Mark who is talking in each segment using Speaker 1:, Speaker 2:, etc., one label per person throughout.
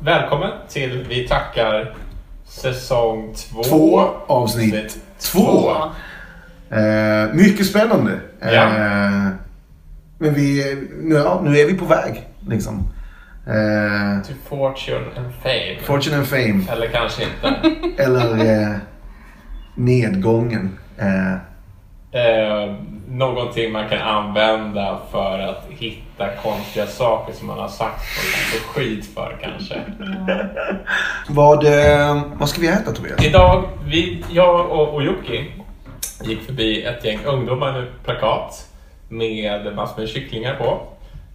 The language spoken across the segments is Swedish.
Speaker 1: välkommen till Vi tackar säsong två.
Speaker 2: Två avsnitt.
Speaker 1: Avsnitt
Speaker 2: Två! Eh, mycket spännande. Eh,
Speaker 1: Ja.
Speaker 2: Men vi, nu, ja, nu är vi på väg. Liksom. Eh,
Speaker 1: To fortune and fame.
Speaker 2: fortune and fame.
Speaker 1: Eller kanske inte.
Speaker 2: Eller eh, nedgången. Eh,
Speaker 1: eh, någonting man kan använda för att hitta konstiga saker som man har sagt och fått skit för kanske.
Speaker 2: vad, eh, vad ska vi äta Tobias?
Speaker 1: Idag, vi, jag och, och Jocke gick förbi ett gäng ungdomar med plakat med massor med kycklingar på.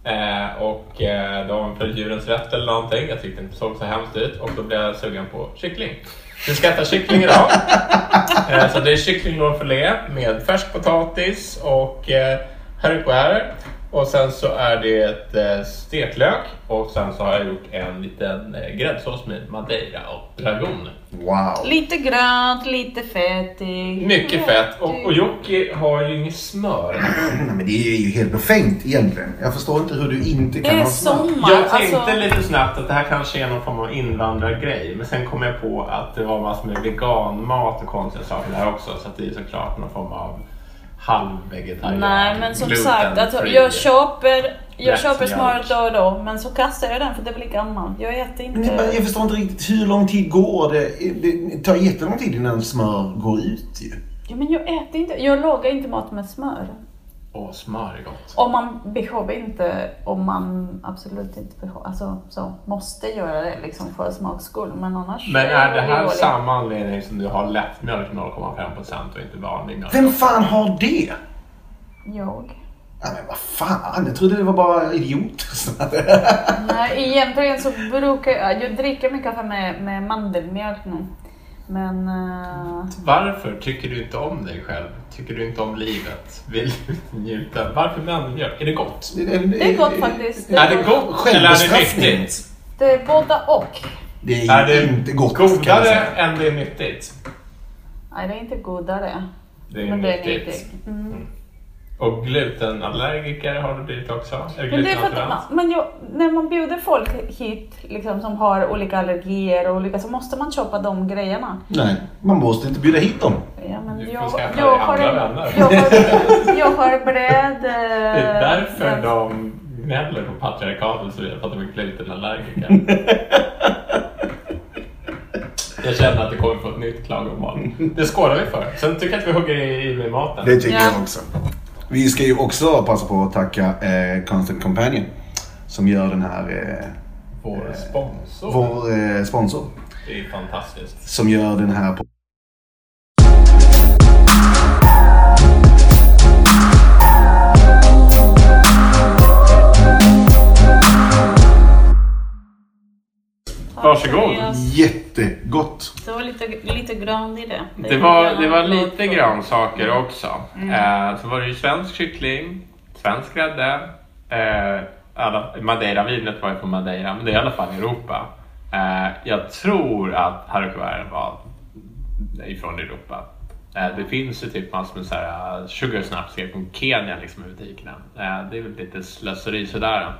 Speaker 1: Eh, och eh, de var för djurens rätt eller någonting. Jag tyckte det såg så hemskt ut och då blev jag sugen på kyckling. Vi ska äta kyckling idag. eh, så det är kyckling och filé med färsk potatis och eh, haricots. Och sen så är det eh, steklök och sen så har jag gjort en liten eh, gräddsås med madeira och dragon.
Speaker 2: Wow.
Speaker 3: Lite grönt, lite fettig.
Speaker 1: Mycket fett. Och, och Jocke har ju inget smör.
Speaker 2: Nej, men det är ju helt befängt egentligen. Jag förstår inte hur du inte
Speaker 3: Det
Speaker 2: kan
Speaker 3: är
Speaker 2: ha smak.
Speaker 3: sommar.
Speaker 1: Jag tänkte
Speaker 3: alltså,
Speaker 1: lite snabbt att det här kanske är någon form av invandrargrej. Men sen kom jag på att det var massor med veganmat och konstiga saker där också. Så att det är såklart någon form av halvvegetarian.
Speaker 3: Nej men som
Speaker 1: gluten-free.
Speaker 3: sagt, alltså, jag köper, jag
Speaker 1: Rätt
Speaker 3: köper
Speaker 1: mjölk.
Speaker 3: smöret då och då men så kastar jag den för det blir gammalt. Jag äter
Speaker 2: Men det- men
Speaker 3: inte...
Speaker 2: Jag förstår inte riktigt hur lång tid går det? Det tar jättelång tid innan smör går ut ju.
Speaker 3: Ja, men jag äter inte, jag lagar inte mat med smör.
Speaker 1: Åh, smör är gott.
Speaker 3: Om man behöver inte, om man absolut inte behöver, alltså så, måste göra det liksom för smaks skull. Men annars
Speaker 1: Men är det här
Speaker 3: dåligt.
Speaker 1: samma anledning som du har lättmjölk 0,5% och inte Alltså, vanlig mjölk?
Speaker 2: Vem fan har det?
Speaker 3: Jag.
Speaker 2: Ja, men vad fan, jag trodde det var bara idioter som hade
Speaker 3: Nej, egentligen så brukar jag, jag dricker mycket kaffe med, med mandelmjölk nu. Men eh,
Speaker 1: Varför tycker du inte om dig själv? Tycker du inte om livet? Vill du inte njuta? Varför mandelmjölk? Är det gott?
Speaker 3: det är gott faktiskt.
Speaker 1: Är det gott eller är det
Speaker 2: Självbestraffning.
Speaker 1: nyttigt?
Speaker 3: Det är både och.
Speaker 2: Det är,
Speaker 1: Är det
Speaker 2: inte gott kan jag
Speaker 1: godare
Speaker 2: säga.
Speaker 1: än det är nyttigt?
Speaker 3: Nej, det är inte godare.
Speaker 1: Det är
Speaker 3: Men det är
Speaker 1: nyttigt.
Speaker 3: nyttigt. Mm.
Speaker 1: Och glutenallergiker har du blivit också? Eller
Speaker 3: Men det är för att
Speaker 1: glutenallergi?
Speaker 3: man, men jag, när man bjuder folk hit liksom, som har olika allergier och olika, så måste man köpa de grejerna.
Speaker 2: Nej, man måste inte bjuda hit dem.
Speaker 3: Ja, men
Speaker 1: Du får
Speaker 3: jag,
Speaker 1: skaffa
Speaker 3: jag,
Speaker 1: dig
Speaker 3: har,
Speaker 1: andra
Speaker 3: en-
Speaker 1: vänner.
Speaker 3: jag, har, jag har bröd... eh,
Speaker 1: Det är därför de gnäller på patriarkatet så vidare, för att de är glutenallergiker. Jag känner att det kommer få ett nytt klagomål. Det skålar vi för. Sen tycker jag att vi hugger i med maten.
Speaker 2: Det tycker
Speaker 3: Ja.
Speaker 2: jag också. Vi ska ju också passa på att tacka eh, Constant Companion som gör den här, eh,
Speaker 1: Vår sponsor.
Speaker 2: vår eh, sponsor,
Speaker 1: Det är fantastiskt.
Speaker 2: som gör den här på
Speaker 1: Varsågod.
Speaker 2: jättegott.
Speaker 3: Det var lite, lite grön i det.
Speaker 1: Det var, det var lite grönsaker också. Eh, så var det ju svensk kyckling, svensk grädde. Eh, alla- Madeira-vinet var ju från Madeira, men det är i alla fall Europa. Eh, jag tror att haricots var ifrån Europa. Eh, det finns ju typ massor med så här eh, sugar snaps helt från Kenya liksom, i butikerna. Eh, det är väl lite slöseri sådär.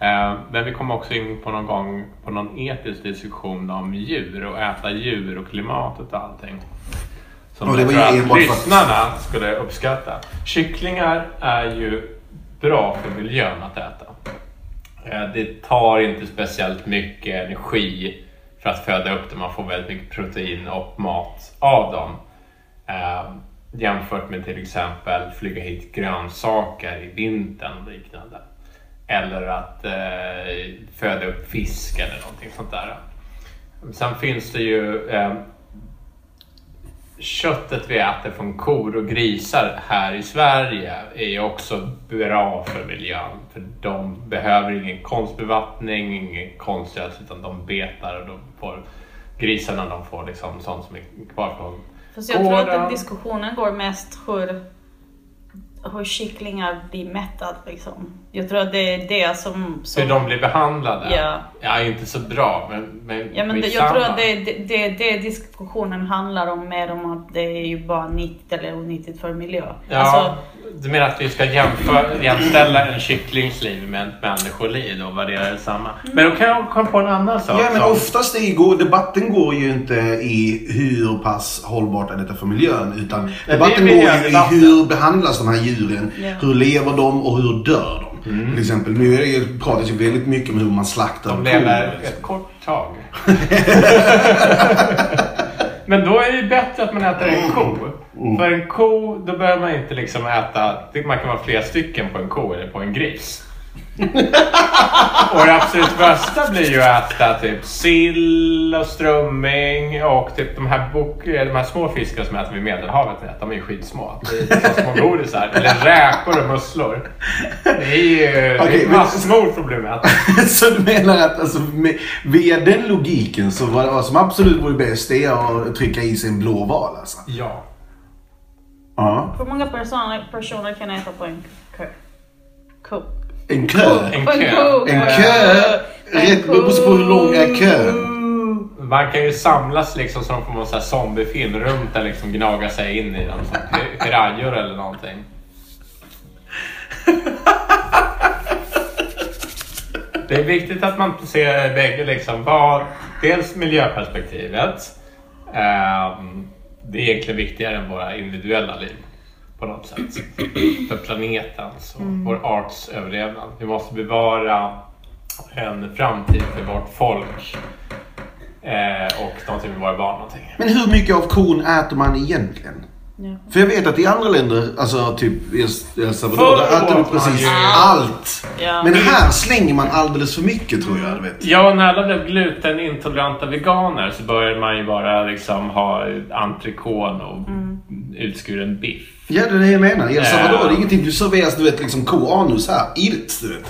Speaker 1: Eh, men vi kom också in på någon gång på någon etisk diskussion om djur och äta djur och klimatet och allting. Som
Speaker 2: Och det
Speaker 1: jag
Speaker 2: var
Speaker 1: tror
Speaker 2: ju
Speaker 1: att
Speaker 2: enbart för att-
Speaker 1: lyssnarna skulle uppskatta. Kycklingar är ju bra för miljön att äta. Eh, Det tar inte speciellt mycket energi för att föda upp dem. Man får väldigt mycket protein och mat av dem. Eh, jämfört med till exempel flyga hit grönsaker i vintern och liknande. Eller att eh, föda upp fisk eller någonting sånt där. Sen finns det ju eh, köttet vi äter från kor och grisar här i Sverige är ju också bra för miljön. För de behöver ingen konstbevattning, ingen konstgödsel, utan de betar och de får grisarna de får liksom sånt som är kvar från
Speaker 3: Fast jag tror att
Speaker 1: Gården.
Speaker 3: den diskussionen går mest hur, hur kycklingar blir mättade. Liksom. Jag tror att det är det som... som
Speaker 1: Hur de blir behandlade?
Speaker 3: Ja.
Speaker 1: Ja, inte så bra, men, men
Speaker 3: ja, men det, jag
Speaker 1: skitsamma.
Speaker 3: tror att det, det, det, det diskussionen handlar om mer om att det är ju bara nyttigt eller onyttigt för miljö.
Speaker 1: Ja,
Speaker 3: Alltså,
Speaker 1: Du menar att vi ska jämföra, jämställa en kycklings liv med ett människoliv och värdera det samma? Men då kan jag komma på en annan sak.
Speaker 2: Mm. Ja, men
Speaker 1: som-
Speaker 2: oftast i går, debatten går ju inte i hur pass hållbart är detta för miljön. Utan
Speaker 1: det
Speaker 2: debatten
Speaker 1: blir
Speaker 2: går
Speaker 1: hela
Speaker 2: ju i
Speaker 1: debatten.
Speaker 2: hur behandlas de här djuren.
Speaker 3: Ja.
Speaker 2: Hur lever de och hur dör de? Till exempel, nu är det ju, pratas ju väldigt mycket om hur man slaktar
Speaker 1: De
Speaker 2: kor,
Speaker 1: lever
Speaker 2: liksom.
Speaker 1: ett kort tag. Men då är det ju bättre att man äter en ko. För en ko, då behöver man inte liksom äta... Man kan vara flera stycken på en ko eller på en gris. och det absolut bästa blir ju att äta typ sill och strömming och typ de här, bok, eh, de här små fiskarna som äter vid Medelhavet. De är ju skitsmå. Det är som små godisar. Eller räkor och musslor. Det är ju
Speaker 2: Okej,
Speaker 1: okay,
Speaker 2: men-
Speaker 1: massmord problemet.
Speaker 2: så du menar att alltså, med, via den logiken så var vad som absolut vore bäst det är att trycka i sig en blå val alltså.
Speaker 1: Ja.
Speaker 2: Ja.
Speaker 3: Hur många personer, personer kan äta på en kö? Ko.
Speaker 2: En kö.
Speaker 1: En
Speaker 3: På en
Speaker 1: kö.
Speaker 3: ko.
Speaker 2: En kö. Rätt, det beror på hur lång är kön.
Speaker 1: Man kan ju samlas liksom som på någon sån här zombiefilm runt där liksom gnaga sig in i den. Som pir- pirajor eller någonting. Det är viktigt att man ser bägge liksom. Vad, dels miljöperspektivet. ehm, det är egentligen viktigare än våra individuella liv. På något sätt. För planetens och vår arts överlevnad. Vi måste bevara en framtid för vårt folk. Eh, och de som vill vara barn någonting.
Speaker 2: Men hur mycket av kon äter man egentligen?
Speaker 3: Ja.
Speaker 2: För jag vet att i andra länder, alltså typ i El
Speaker 1: Förr
Speaker 2: Salvador, där äter
Speaker 1: åt
Speaker 2: man
Speaker 1: man
Speaker 2: precis
Speaker 1: ju-
Speaker 2: allt.
Speaker 3: Ja.
Speaker 2: Men här slänger man alldeles för mycket tror jag. Du vet.
Speaker 1: Ja, när alla blev glutenintoleranta veganer så började man ju bara liksom ha entrecôte och utskuren biff.
Speaker 2: Ja, det är det jag menar. I El Salvador,
Speaker 1: Ja.
Speaker 2: det är ingenting. Du serveras du vet liksom koanus här. Irt, du vet.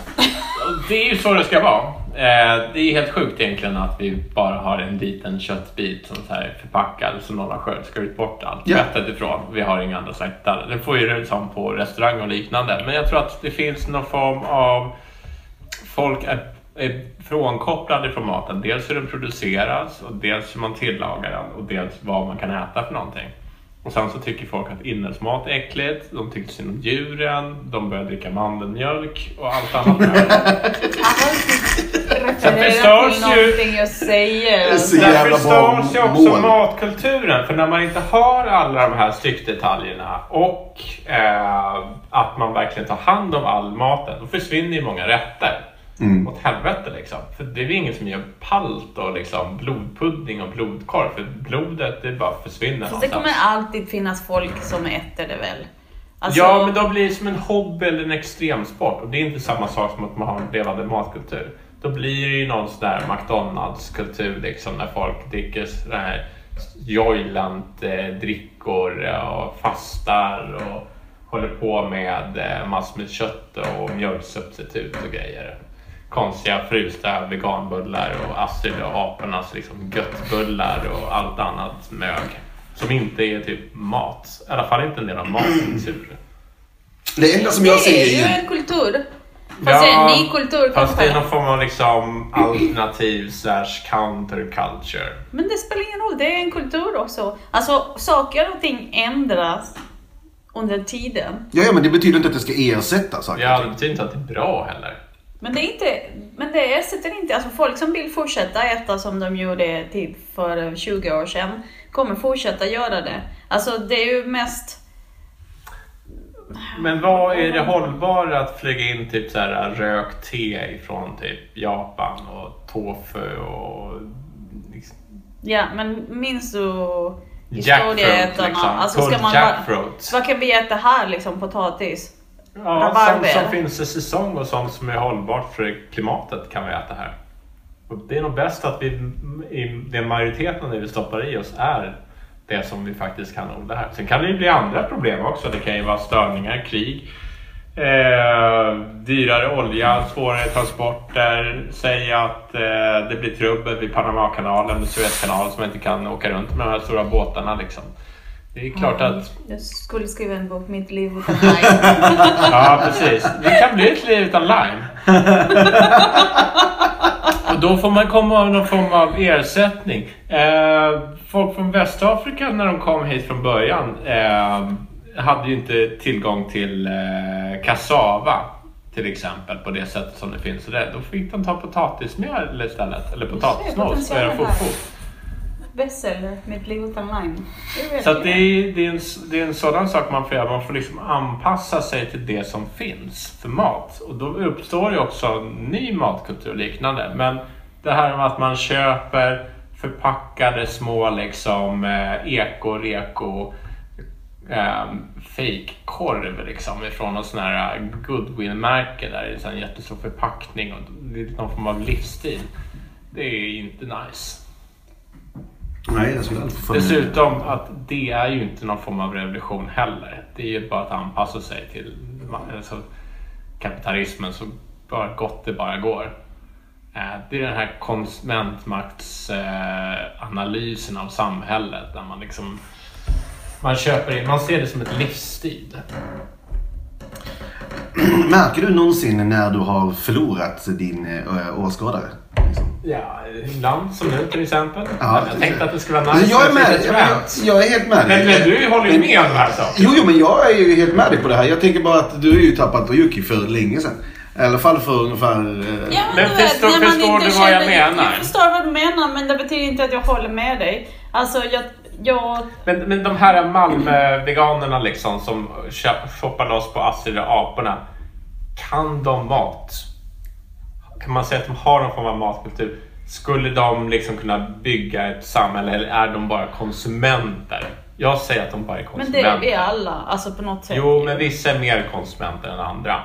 Speaker 1: Och Det är ju så det ska vara. Eh, det är helt sjukt egentligen att vi bara har en liten köttbit som så här förpackad som någon har skörd skurit bort allt
Speaker 2: Ja.
Speaker 1: fettet ifrån. Vi har inga andra slaktare. Det får ju det som på restaurang och liknande. Men jag tror att det finns någon form av folk är, är frånkopplade från maten. Dels hur den produceras och dels hur man tillagar den och dels vad man kan äta för någonting. Och sen så tycker folk att inälvsmat är äckligt, de tycker synd om djuren, de börjar dricka mandelmjölk och allt annat.
Speaker 3: Sen
Speaker 1: förstörs
Speaker 3: förstörs
Speaker 1: ju-
Speaker 3: ju... någonting jag säger.
Speaker 2: Så
Speaker 1: Där
Speaker 2: jävla bra
Speaker 1: förstörs ju också
Speaker 2: mål.
Speaker 1: matkulturen. För när man inte har alla de här styckdetaljerna och eh, att man verkligen tar hand om all maten, då försvinner ju många rätter.
Speaker 2: Mm.
Speaker 1: Åt helvete liksom. För det är ju ingen som gör palt och liksom blodpudding och blodkorv. För blodet, det bara försvinner
Speaker 3: Fast det
Speaker 1: någonstans.
Speaker 3: kommer alltid finnas folk som äter det väl? Alltså,
Speaker 1: Ja, men då blir det som en hobby eller en extremsport. Och det är inte samma sak som att man har en levande matkultur. Då blir det ju någon sån där McDonalds-kultur liksom när folk dricker sådana här joyland-drickor eh, och fastar och håller på med eh, massor med kött och mjölksubstitut och grejer. Konstiga frysta veganbullar och Astrid och apornas liksom göttbullar och allt annat mög. Som inte är typ mat. I alla fall inte en del av matkulturen.
Speaker 2: Det enda som
Speaker 3: det
Speaker 2: jag
Speaker 3: är
Speaker 2: säger
Speaker 3: ju
Speaker 2: är...
Speaker 3: en kultur. Fast det är en ny kultur.
Speaker 1: Fast det är
Speaker 3: kanske.
Speaker 1: någon form av liksom alternativ slash counterculture.
Speaker 3: Men det spelar ingen roll, det är en kultur också. Alltså saker och ting ändras under tiden.
Speaker 2: Ja, ja, men det betyder inte att det ska ersätta saker och
Speaker 1: Ja,
Speaker 2: ting.
Speaker 1: det betyder inte att det är bra heller.
Speaker 3: Men det, är inte, men det ersätter inte, alltså folk som vill fortsätta äta som de gjorde till för 20 år sedan kommer fortsätta göra det. Alltså det är ju mest
Speaker 1: Men vad är det hållbara att flyga in typ så här rökt te ifrån typ Japan och tofu och liksom
Speaker 3: Ja, men minns du
Speaker 1: jackfruit
Speaker 3: historieätarna?
Speaker 1: liksom.
Speaker 3: Alltså, ska
Speaker 1: Pulled
Speaker 3: man bara,
Speaker 1: jackfruit.
Speaker 3: vad kan vi äta här liksom? Potatis?
Speaker 1: Ja, sånt
Speaker 3: rabarber.
Speaker 1: som finns i säsong och sånt som är hållbart för klimatet kan vi äta här. Och det är nog bäst att vi, i den majoriteten av det vi stoppar i oss är det som vi faktiskt kan odla här. Sen kan det ju bli andra problem också. Det kan ju vara störningar, krig, eh, dyrare olja, svårare transporter. Säg att eh, det blir trubbel vid Panamakanalen och Suezkanalen som inte kan åka runt med de här stora båtarna. Liksom. Det är klart
Speaker 3: Mm.
Speaker 1: att
Speaker 3: Jag skulle skriva en bok, Mitt liv utan lime.
Speaker 1: Ja, precis. Det kan bli ett liv utan lime. Och då får man komma av någon form av ersättning. Eh, folk från Västafrika när de kom hit från början eh, hade ju inte tillgång till eh, kassava till exempel på det sättet som det finns. Så det, då fick de ta potatismjöl istället. Eller potatismos.
Speaker 3: potentialen
Speaker 1: för att få
Speaker 3: här.
Speaker 1: fort.
Speaker 3: Besseler, mitt liv utan lime. Det är
Speaker 1: Så att det, är, det, är en, s- det är en sådan sak man får göra. Man får liksom anpassa sig till det som finns för mat. Och då uppstår ju också en ny matkultur och liknande. Men det här med att man köper förpackade små liksom eh, eko, reko eh, fejkkorv liksom ifrån någon sån här goodwill-märke där det är en sån här jättestor förpackning och det är någon form av livsstil. Det är ju inte nice.
Speaker 2: Nej, jag skulle aldrig få för mig.
Speaker 1: Dessutom att det är ju inte någon form av revolution heller. Det är ju bara att anpassa sig till alltså, kapitalismen så bara gott det bara går. Eh, Det är den här konsumentmaktsanalysen av samhället där man liksom man köper in, man ser det som ett livsstil.
Speaker 2: Märker du någonsin när du har förlorat din äh, åskådare? Liksom?
Speaker 1: Ja, ibland som nu till exempel.
Speaker 2: Ja.
Speaker 1: jag tänkte att det skulle vara
Speaker 2: Alltså,
Speaker 1: nice.
Speaker 2: jag är
Speaker 1: med
Speaker 2: med
Speaker 1: ett litet
Speaker 2: dig. Jag, jag,
Speaker 1: skämt.
Speaker 2: jag är helt med dig.
Speaker 1: Men, men du håller ju med om de här sakerna.
Speaker 2: Jo, jo, men jag är ju helt med dig på det här. Jag tänker bara att du är ju tappat på Yuki för länge sedan. I alla fall för ungefär... eh,
Speaker 3: Ja,
Speaker 1: Men
Speaker 3: du vet,
Speaker 1: förstår-
Speaker 3: när man
Speaker 1: förstår
Speaker 3: inte
Speaker 1: du vad jag
Speaker 3: känner-
Speaker 1: menar?
Speaker 3: Jag förstår vad du menar, men det betyder inte att jag håller med dig. Alltså, jag... jag
Speaker 1: Men, men de här Malmö-veganerna liksom som kö- shoppar loss på Astrid och aporna. Kan de mat? Kan man säga att de har någon form av matkultur? Skulle de liksom kunna bygga ett samhälle eller är de bara konsumenter? Jag säger att de bara är
Speaker 3: men
Speaker 1: konsumenter.
Speaker 3: det är vi alla, alltså på något sätt.
Speaker 1: Jo, men vissa är mer konsumenter än andra.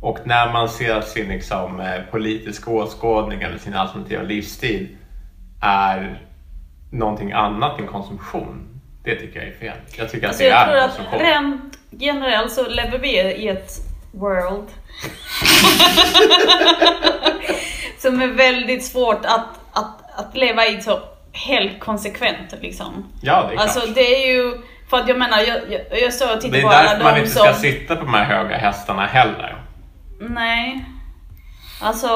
Speaker 1: Och när man ser att sin liksom, eh, politiska åskådning eller sin alternativa livsstil är någonting annat än konsumtion. Det tycker jag är fel. Jag tycker
Speaker 3: Alltså,
Speaker 1: att det
Speaker 3: jag
Speaker 1: är
Speaker 3: tror att
Speaker 1: konsumtion.
Speaker 3: rent generellt så lever vi i ett world som är väldigt svårt att, att, att leva i så helt konsekvent liksom.
Speaker 1: Ja, det är
Speaker 3: Alltså
Speaker 1: klart.
Speaker 3: det är ju, för att jag menar, jag, jag, jag står och tittar
Speaker 1: Det är
Speaker 3: på alla
Speaker 1: därför man
Speaker 3: de
Speaker 1: inte
Speaker 3: som...
Speaker 1: ska sitta på de här höga hästarna heller.
Speaker 3: Nej. Alltså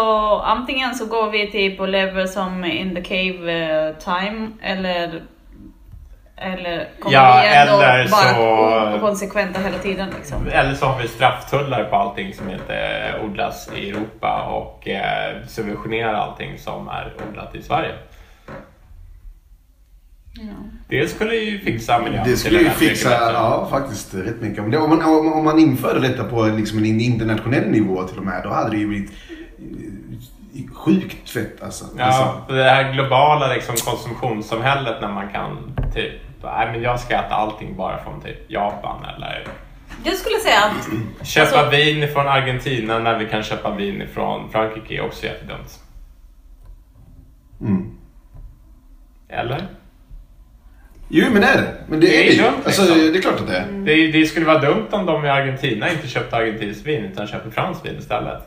Speaker 3: antingen så går vi typ och lever som in the cave eh, time eller eller kommer
Speaker 1: Ja,
Speaker 3: vi ändå
Speaker 1: eller
Speaker 3: bara
Speaker 1: så-
Speaker 3: konsekventa hela tiden liksom.
Speaker 1: Eller så har vi strafftullar på allting som inte odlas i Europa och eh, subventionerar allting som är odlat i Sverige. Det skulle ju fixa miljön.
Speaker 2: Det skulle
Speaker 1: till
Speaker 2: ju
Speaker 1: en mycket
Speaker 2: fixa,
Speaker 1: bättre.
Speaker 2: ja faktiskt rätt mycket. Om, det, om, man, om, om man införde detta på en, liksom en internationell nivå till och med, då hade det ju blivit eh, sjukt fett alltså. alltså
Speaker 1: Ja, det här globala liksom, konsumtionssamhället när man kan typ, nej men jag ska äta allting bara från typ Japan eller
Speaker 3: Jag skulle säga att
Speaker 1: köpa
Speaker 3: Alltså-
Speaker 1: vin från Argentina när vi kan köpa vin från Frankrike är också jättedumt.
Speaker 2: mm.
Speaker 1: Eller?
Speaker 2: Jo men det är det. Men det,
Speaker 1: Det
Speaker 2: är
Speaker 1: är
Speaker 2: det ju.
Speaker 1: dumt,
Speaker 2: Alltså,
Speaker 1: liksom.
Speaker 2: det är klart att det
Speaker 3: Mm.
Speaker 2: är.
Speaker 1: Det, det skulle vara dumt om de i Argentina inte köpte argentinskt vin utan köpte franskt vin istället.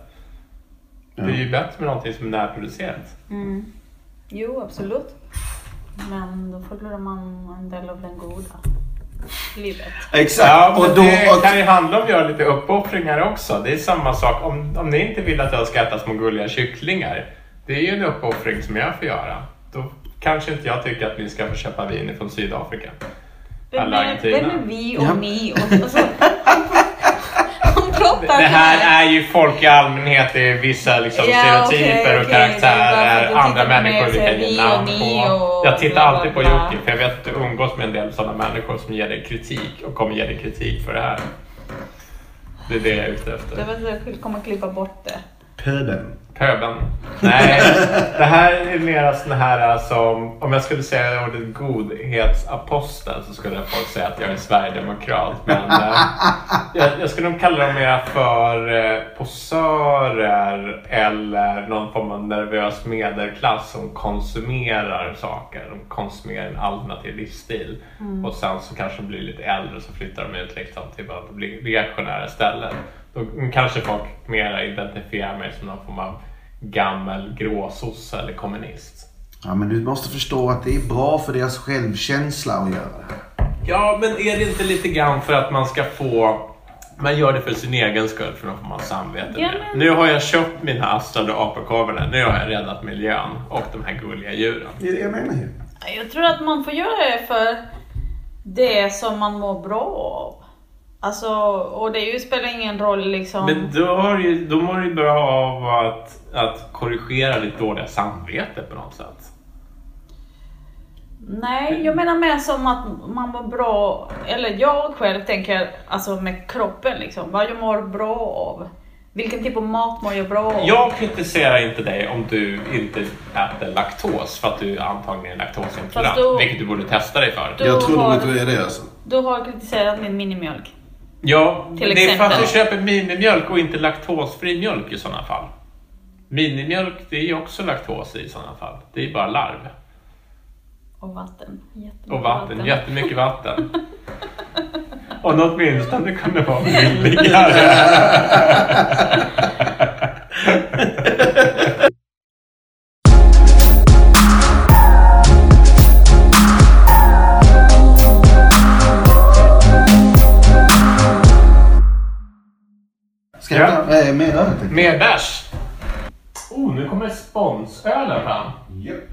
Speaker 1: Det är ju bättre med någonting som är närproducerat.
Speaker 3: Jo, absolut. Men då förlorar man en del av den goda livet.
Speaker 2: Exakt.
Speaker 1: Ja, men
Speaker 2: och då,
Speaker 1: det
Speaker 2: och,
Speaker 1: kan ju handla om att göra lite uppoffringar också. Det är samma sak om, om ni inte vill att jag ska äta små gulliga kycklingar. Det är ju en uppoffring som jag får göra. Då kanske inte jag tycker att ni ska få köpa vin från Sydafrika.
Speaker 3: Vem
Speaker 1: Alla
Speaker 3: är,
Speaker 1: Argentina.
Speaker 3: vem är vi och
Speaker 2: Ja.
Speaker 3: ni? Och, alltså- och så, hon pratar
Speaker 1: Det här är ju folk i allmänhet, det är vissa liksom
Speaker 3: Ja,
Speaker 1: stereotyper
Speaker 3: okej,
Speaker 1: och
Speaker 3: okej. Det är bara för
Speaker 1: karaktärer,
Speaker 3: att du
Speaker 1: andra
Speaker 3: tittar på
Speaker 1: människor
Speaker 3: mig
Speaker 1: vi
Speaker 3: och
Speaker 1: kan ge
Speaker 3: säger vi och
Speaker 1: namn
Speaker 3: ni
Speaker 1: på.
Speaker 3: och
Speaker 1: Jag tittar
Speaker 3: bla, bla,
Speaker 1: alltid på
Speaker 3: bla.
Speaker 1: Jocke för jag vet att du umgås med en del sådana människor som ger dig kritik och kommer ge dig kritik för det här. Det är det jag är ute efter.
Speaker 3: Jag vet inte, jag kommer klippa bort det.
Speaker 2: Pöbeln.
Speaker 1: Pöben. Nej, det här är mera sådana här äh, som, om jag skulle säga ordet godhetsapostel så skulle folk säga att jag är sverigedemokrat. Men eh, jag, jag skulle nog kalla dem mera för eh, posörer eller någon form av nervös medelklass som konsumerar saker. De konsumerar en alternativ livsstil. Och sen så kanske de blir lite äldre och så flyttar de ut liksom till bara bli reaktionära ställen. Då kanske folk mera identifierar mig som någon form av gammal gråsosse eller kommunist.
Speaker 2: Ja, men du måste förstå att det är bra för deras självkänsla att göra det här.
Speaker 1: Ja, men är det inte lite grann för att man ska få... Man gör det för sin egen skull, för då får man samvete.
Speaker 3: Ja,
Speaker 1: med.
Speaker 3: men-
Speaker 1: Nu har jag köpt mina astrar och apakorvarna. Nu har jag räddat miljön och de här gulliga djuren.
Speaker 2: Det är det jag menar ju.
Speaker 3: Jag tror att man får göra det för det som man mår bra av. Alltså, och det ju spelar ingen roll liksom.
Speaker 1: Men då, har ju, då mår du ju bra av att, att korrigera ditt dåliga samvete på något sätt.
Speaker 3: Nej, jag menar mer som att man mår bra, eller jag själv tänker alltså med kroppen liksom, vad jag mår bra av. Vilken typ av mat mår jag bra av?
Speaker 1: Jag kritiserar inte dig om du inte äter laktos för att du antagligen är laktosintolerant.
Speaker 3: Fast då-
Speaker 1: Vilket du borde testa dig för.
Speaker 3: Då
Speaker 2: jag tror nog
Speaker 3: har-
Speaker 2: att du är det alltså.
Speaker 3: Du har kritiserat min minimjölk.
Speaker 1: Ja,
Speaker 3: Till
Speaker 1: det är för att du
Speaker 3: exempel.
Speaker 1: köper minimjölk och inte laktosfri mjölk i sådana fall. Minimjölk, det är ju också laktos i i sådana fall. Det är bara larv.
Speaker 3: Och vatten. Jättemycket
Speaker 1: Och vatten, jättemycket vatten. Om något åtminstone kunde vara billigare.
Speaker 2: Ska jag hämta eh, mer öl? tänkte
Speaker 1: Mer bärs. Oh, nu kommer sponsölen fram.
Speaker 2: jag. Japp.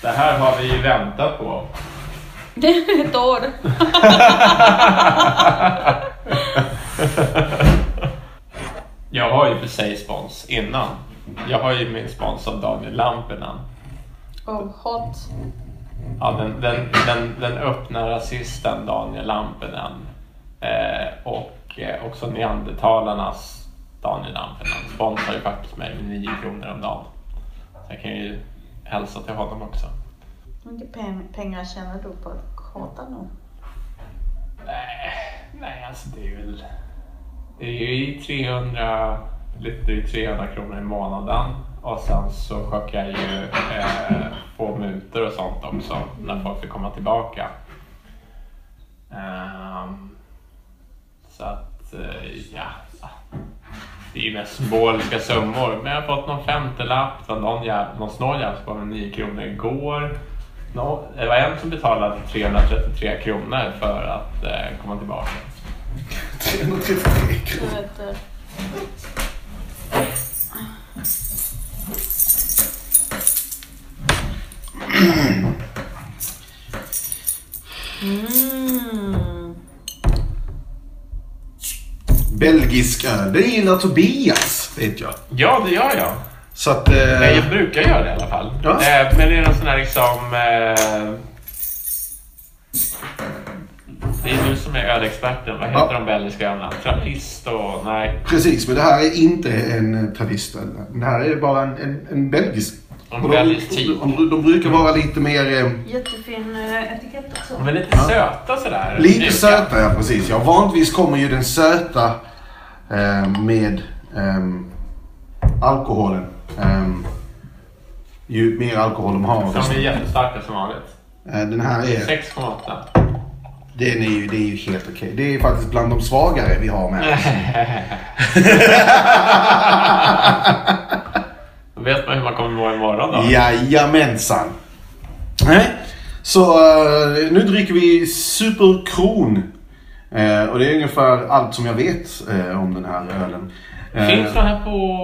Speaker 1: Det här har vi ju väntat på.
Speaker 3: Det är ett år.
Speaker 1: Jag har ju för sig spons innan. Jag har ju min spons av Daniel Lampinen.
Speaker 3: Och hot.
Speaker 1: Ja, den, den, den, den öppna rasisten Daniel Lampinen eh, och eh, också neandertalarnas Daniel Lampinen sponsrar ju faktiskt mig med 9 kronor om dagen. Så jag kan ju hälsa till honom också.
Speaker 3: Hur mycket pen- pengar tjänar du på att hata någon?
Speaker 1: Nej, nej alltså det är väl... Det är ju 300, lite drygt 300 kronor i månaden och sen så sköt jag ju eh, få mutor och sånt också när folk fick komma tillbaka. Ehm, så att, eh, ja. Det är ju mest symboliska summor. Men jag har fått någon femtelapp från någon, jäv- någon snål jävel som gav mig 9 kronor igår. Nå, det var en som betalade 333 kronor för att eh, komma tillbaka.
Speaker 2: 333
Speaker 3: Du
Speaker 2: kronor.
Speaker 3: vet, eh, Mm.
Speaker 2: Belgisk öl. Det gillar Tobias, vet jag.
Speaker 1: Ja, det gör jag.
Speaker 2: Så att... Eh,
Speaker 1: Nej, jag brukar göra det i alla fall.
Speaker 2: Ja.
Speaker 1: Eh, men det är någon sån här liksom... Eh, det är du som är ölexperten. Vad heter
Speaker 2: Ja.
Speaker 1: de belgiska ölarna? Trappist och... Nej,
Speaker 2: Precis, men det här är inte en tradistöl. Det här är bara en, en, en belgisk.
Speaker 1: En
Speaker 2: Och
Speaker 1: belgisk typ.
Speaker 2: de, de, de brukar vara lite mer... Eh,
Speaker 3: Jättefin eh, etikett också.
Speaker 1: de är lite söta sådär. mjuka.
Speaker 2: Lite söta, ja precis. Ja, vanligtvis kommer ju den söta eh, med ehm, alkoholen. Ehm, ju mer alkohol de har.
Speaker 1: Så De är jättestarka som vanligt.
Speaker 2: Eh, den här är,
Speaker 1: 6,8.
Speaker 2: den är, ju, det är ju helt okej. Det är faktiskt bland de svagare vi har med.
Speaker 1: Då vet man hur man kommer må imorgon då.
Speaker 2: Jajamensan. Nej. Så eh, nu dricker vi Superkron. Eh, och det är ungefär allt som jag vet eh, om den här ölen. Eh,
Speaker 1: Finns den här på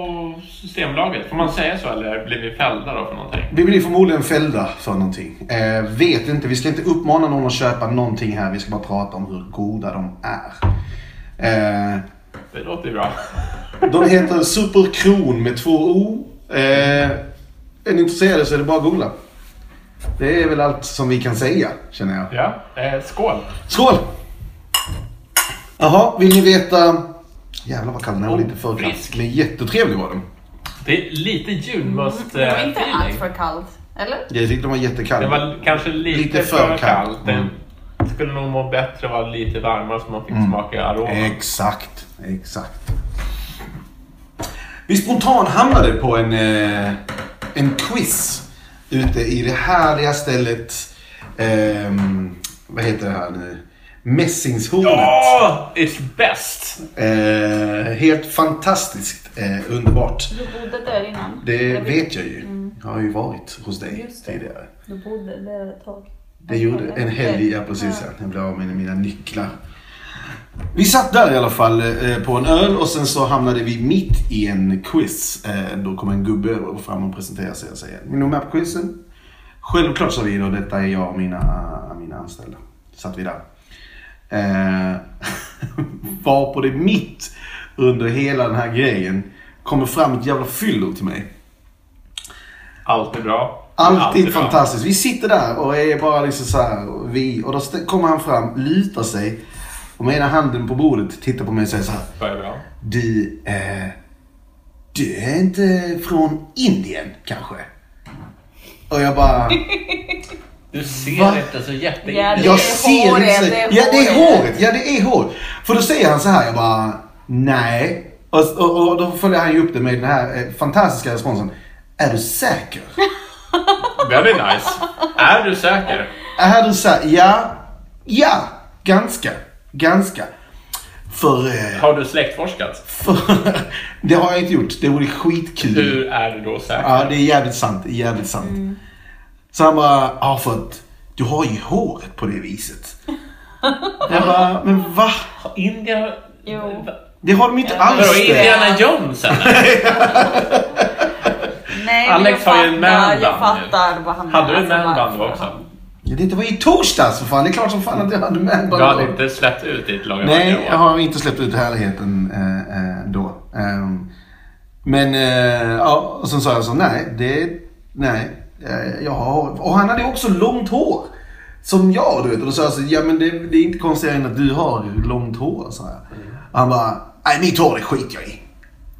Speaker 1: Systembolaget? Får man säga så eller blir vi fällda då för någonting?
Speaker 2: Vi blir förmodligen fällda för någonting. Eh, vet inte, vi ska inte uppmana någon att köpa någonting här. Vi ska bara prata om hur goda de är. Eh,
Speaker 1: Det låter ju bra.
Speaker 2: de heter Superkron med två O. Eh, är ni intresserade så är det bara att googla. Det är väl allt som vi kan säga, känner jag.
Speaker 1: Ja, eh, skål!
Speaker 2: Skål! Jaha, vill ni veta... Jävlar vad kall den här var. Lite för kall.
Speaker 1: Frisk.
Speaker 2: Men jättetrevlig var den.
Speaker 1: Det är lite julmust
Speaker 3: Mm,
Speaker 1: eh,
Speaker 3: Det var inte
Speaker 1: feeling.
Speaker 3: allt för kallt, eller?
Speaker 2: Jag tyckte den var jättekall.
Speaker 1: Det var kanske lite,
Speaker 2: Lite
Speaker 1: för,
Speaker 2: för
Speaker 1: kallt.
Speaker 2: kallt. Mm.
Speaker 1: Det skulle nog må bättre att vara lite varmare så man fick smaka aroman.
Speaker 2: Exakt, exakt. Vi spontan hamnade på en, eh, en quiz ute i det härliga stället, ehm, vad heter det här nu? Mässingshornet.
Speaker 1: Ja! It's best!
Speaker 2: Eh, helt fantastiskt eh, underbart.
Speaker 3: Du bodde där innan.
Speaker 2: Det
Speaker 3: Eller-
Speaker 2: vet jag ju. Jag har ju varit hos dig
Speaker 3: Mm. Just det.
Speaker 2: tidigare.
Speaker 3: Du bodde där ett tag.
Speaker 2: Det gjorde en helg, ja precis. Ja. Jag blev av med mina nycklar. Vi satt där i alla fall eh, på en öl och sen så hamnade vi mitt i en quiz. Eh, Då kom en gubbe och fram och presenterade sig och säger Vill ni vara med på quizen? Självklart sa vi då, detta är jag och mina, mina anställda. Satt vi där. Eh, var på det mitt under hela den här grejen kommer fram ett jävla fyllo till mig.
Speaker 1: Allt är bra.
Speaker 2: Alltid,
Speaker 1: bra.
Speaker 2: fantastiskt. Vi sitter där och är bara liksom så här, och vi. Och då st- kommer han fram, lutar sig och med ena handen på bordet tittar på mig och säger så här.
Speaker 1: Börjar bra.
Speaker 2: Du, eh, du är inte från Indien kanske? Och jag bara...
Speaker 1: Du ser
Speaker 2: Va?
Speaker 1: inte så jätte...
Speaker 3: Ja, det- är
Speaker 2: jag ser
Speaker 3: håret,
Speaker 2: inte så-
Speaker 3: det är
Speaker 2: Ja, det är
Speaker 3: håret.
Speaker 2: håret. Ja, det är hår. För då säger han så här, jag bara, nej. Och, och, och då följer han ju upp det med den här eh, fantastiska responsen. Är du säker?
Speaker 1: Very nice. Är du säker?
Speaker 2: Är Äh, du säker? Ja, ja, ganska, ganska. För, eh,
Speaker 1: Har du släktforskat?
Speaker 2: för det har jag inte gjort. Det vore skitkul.
Speaker 1: Hur är du då säker?
Speaker 2: Ja, det är jävligt sant. Det är jävligt sant. Så han bara, ja för att du har ju håret på det viset. Jag bara, men va?
Speaker 1: Indien...
Speaker 3: Jo.
Speaker 2: Det har de inte
Speaker 3: Ja,
Speaker 2: alls
Speaker 1: Vadå,
Speaker 2: det.
Speaker 1: Indiana Jones eller?
Speaker 3: Nej, men
Speaker 1: Alex
Speaker 3: jag
Speaker 1: har ju en manband
Speaker 3: fattar- Jag
Speaker 1: nu.
Speaker 3: fattar vad han
Speaker 1: Hade du en
Speaker 3: alltså,
Speaker 1: manband då
Speaker 3: varför
Speaker 1: också?
Speaker 3: han-
Speaker 2: Ja, Det var ju i torsdags för fan. Det är klart som fan att jag hade med
Speaker 1: Du hade inte släppt ut ditt långa
Speaker 2: Nej,
Speaker 1: vackra
Speaker 2: jag
Speaker 1: hår.
Speaker 2: har inte släppt ut härligheten eh, eh, då. Ehm, men, eh, ja, och sen sa jag så, nej, det, nej, eh, jag har hår. Och han hade också långt hår. Som jag, du vet. Och då sa jag så, ja men det, det är inte konstigare än att du har långt hår, sa jag. Och han bara, nej mitt hår det skiter jag i.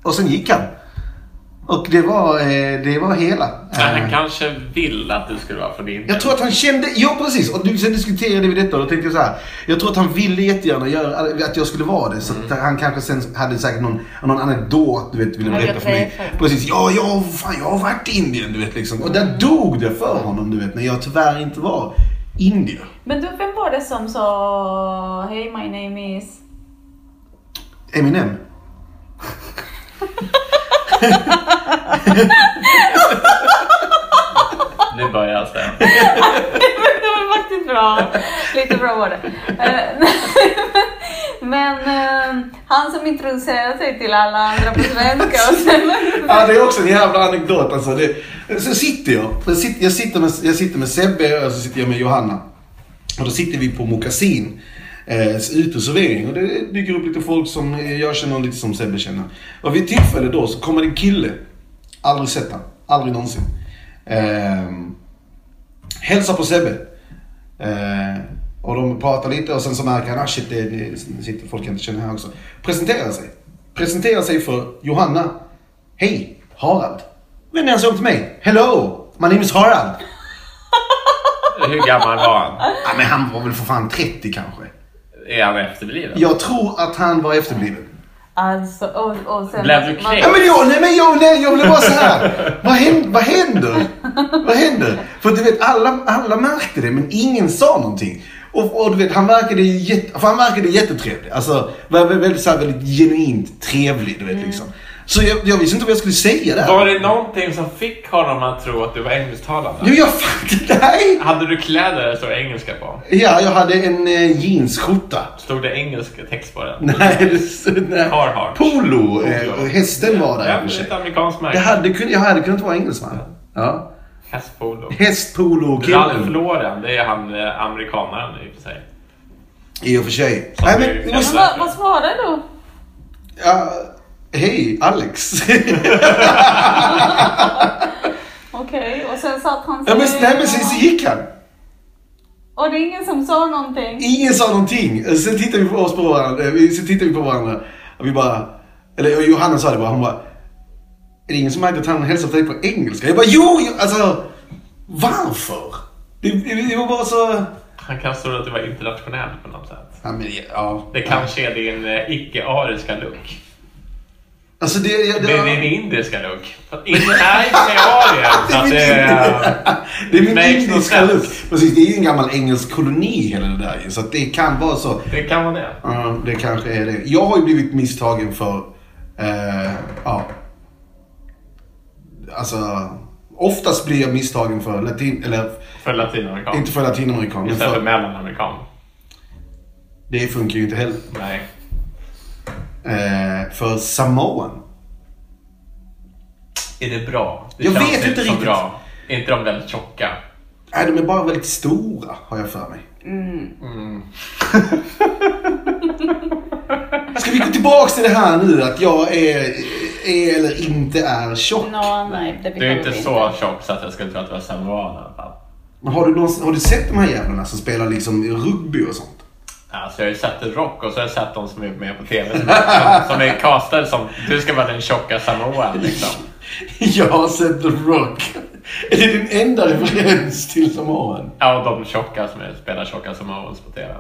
Speaker 2: Och sen gick han. Och det var, eh, det var hela.
Speaker 1: Men han
Speaker 2: Eh,
Speaker 1: kanske vill att du skulle vara från Indien.
Speaker 2: jag tror att han kände, ja precis, och du, sen diskuterade vi detta och då tänkte jag så här. Jag tror att han ville jättegärna göra, att jag skulle vara det. Så att han kanske sen hade säkert någon, någon anekdot du vet, ville
Speaker 3: Ja, jag
Speaker 2: berätta för mig.
Speaker 3: träffade.
Speaker 2: Precis, ja, ja, fan jag har varit i Indien du vet liksom. Och där dog det för honom du vet, när jag tyvärr inte var indier.
Speaker 3: Men du, vem var det som sa Hey my name is...
Speaker 2: Eminem.
Speaker 1: Nu börjar jag säga.
Speaker 3: det var faktiskt bra. Lite bra var det. Eh, Men eh, han som introducerade sig till alla andra på svenska och sen...
Speaker 2: Ja, det är också en jävla anekdot alltså. Det, så sitter jag. Jag sitter, jag, sitter med, jag sitter med Sebbe och så sitter jag med Johanna. Och då sitter vi på Mokasin. Eh, uteservering. Och det dyker upp lite folk som jag känner och lite som Sebbe känner. Och vid ett tillfälle då så kommer det en kille. Aldrig sett han. Aldrig någonsin. Ehm, hälsar på Sebbe. Eh, och de pratar lite och sen så märker han, ah shit, det, det sitter folk jag inte känner här också. Presenterar sig. Presenterar sig för Johanna. Hej, Harald. Vänder han sig om till mig. Hello, my name is Harald.
Speaker 1: Hur gammal var han?
Speaker 2: Ja, men han var väl för fan 30 kanske.
Speaker 1: Är han efterbliven?
Speaker 2: Jag tror att han var efterbliven.
Speaker 3: Alltså, och, och sen...
Speaker 1: Blev du kränkt?
Speaker 2: Ja, men jag, nej men jag, nej, jag blev bara så här. Vad händer? Vad händer? Vad händer? För du vet, alla, alla märkte det men ingen sa någonting. Och, och du vet, han verkade, ju jätte, för han verkade jättetrevlig. Alltså, var var väldigt, så här, väldigt genuint trevlig, du vet liksom. Så jag, jag visste inte vad jag skulle säga där.
Speaker 1: Mm. Var det någonting som fick honom att tro att du var engelsktalande?
Speaker 2: Jo, jag fattade, nej!
Speaker 1: Hade du kläder där det stod engelska på?
Speaker 2: Ja, jag hade en eh, jeansskjorta.
Speaker 1: Stod det engelsk text på den?
Speaker 2: Nej, det, nej.
Speaker 1: Carhartt.
Speaker 2: Polo, eh,
Speaker 1: Polo.
Speaker 2: och hästen var där i
Speaker 1: Ja,
Speaker 2: och för
Speaker 1: men
Speaker 2: sig.
Speaker 1: ett amerikanskt
Speaker 2: Det
Speaker 1: märke.
Speaker 2: hade, kun- jag hade kunnat vara engelsman. Ja.
Speaker 1: Hästpolo.
Speaker 2: Häst, polo och
Speaker 1: Ralph
Speaker 2: killen.
Speaker 1: Lauren, det är han eh, amerikanaren i och för sig.
Speaker 2: I och för sig.
Speaker 1: Som
Speaker 2: Nej,
Speaker 1: är
Speaker 2: men, det var
Speaker 3: Men
Speaker 2: så-
Speaker 1: gammal.
Speaker 3: vad, vad svarade du?
Speaker 2: ja, Hej, Alex.
Speaker 3: Okej, och sen satt han
Speaker 2: ja, men, nej, men sen så gick han.
Speaker 3: Och det är ingen som sa någonting?
Speaker 2: Ingen sa någonting. Sen tittade vi på oss på varandra. eh, vi- Sen tittade vi på varandra. Och vi bara... Eller och Johanna sa det bara. Hon bara... Är det ingen som märkte att han hälsade på dig på engelska? Jag bara jo! jo, Alltså... Varför? Det, det, det var bara så...
Speaker 1: Han kan stå att du var internationell på något sätt.
Speaker 2: Ja, men, ja.
Speaker 1: Det kanske är din eh, icke-ariska look.
Speaker 2: Alltså det... ja, det,
Speaker 1: Det är din indiska look. För Indien är i och för sig arier.
Speaker 2: Det
Speaker 1: så
Speaker 2: är
Speaker 1: att
Speaker 2: min,
Speaker 1: det är-
Speaker 2: det är min
Speaker 1: makes no
Speaker 2: indiska
Speaker 1: sense.
Speaker 2: luft. Precis, det är ju en gammal engelsk koloni hela det där ju, Så att det kan vara så.
Speaker 1: Det kan vara det.
Speaker 2: Ja, det kanske är det. Jag har ju blivit misstagen för, eh, ja. Alltså, oftast blir jag misstagen för latin, eller
Speaker 1: För latinamerikan.
Speaker 2: inte för latinamerikan. Men
Speaker 1: Istället för
Speaker 2: för,
Speaker 1: mellanamerikan.
Speaker 2: det funkar ju inte heller.
Speaker 1: Nej.
Speaker 2: Eh, för Samoan.
Speaker 1: Är det bra? Det
Speaker 2: Jag
Speaker 1: känns
Speaker 2: vet
Speaker 1: inte så
Speaker 2: inte riktigt.
Speaker 1: Bra. Är inte de väldigt tjocka?
Speaker 2: Nej, de är bara väldigt stora har jag för mig.
Speaker 3: Mm.
Speaker 2: Ska vi gå tillbaks till det här nu att jag är, är eller inte är tjock?
Speaker 3: Nå, nej, det
Speaker 1: Du är
Speaker 3: behöver
Speaker 1: inte
Speaker 3: vi
Speaker 1: så tjock så att jag skulle tro att du var San Juan i alla fall.
Speaker 2: Men har du, någonsin, har du sett de här jävlarna som spelar liksom rugby och sånt?
Speaker 1: Alltså jag har ju sett Rock och så har jag sett de som är med på TV som, som, som är castade som du ska vara den tjocka Samoan liksom.
Speaker 2: jag har sett The Rock. Är det din enda referens till Samoan?
Speaker 1: Ja, och de tjocka som är, spelar tjocka Samoans på TV.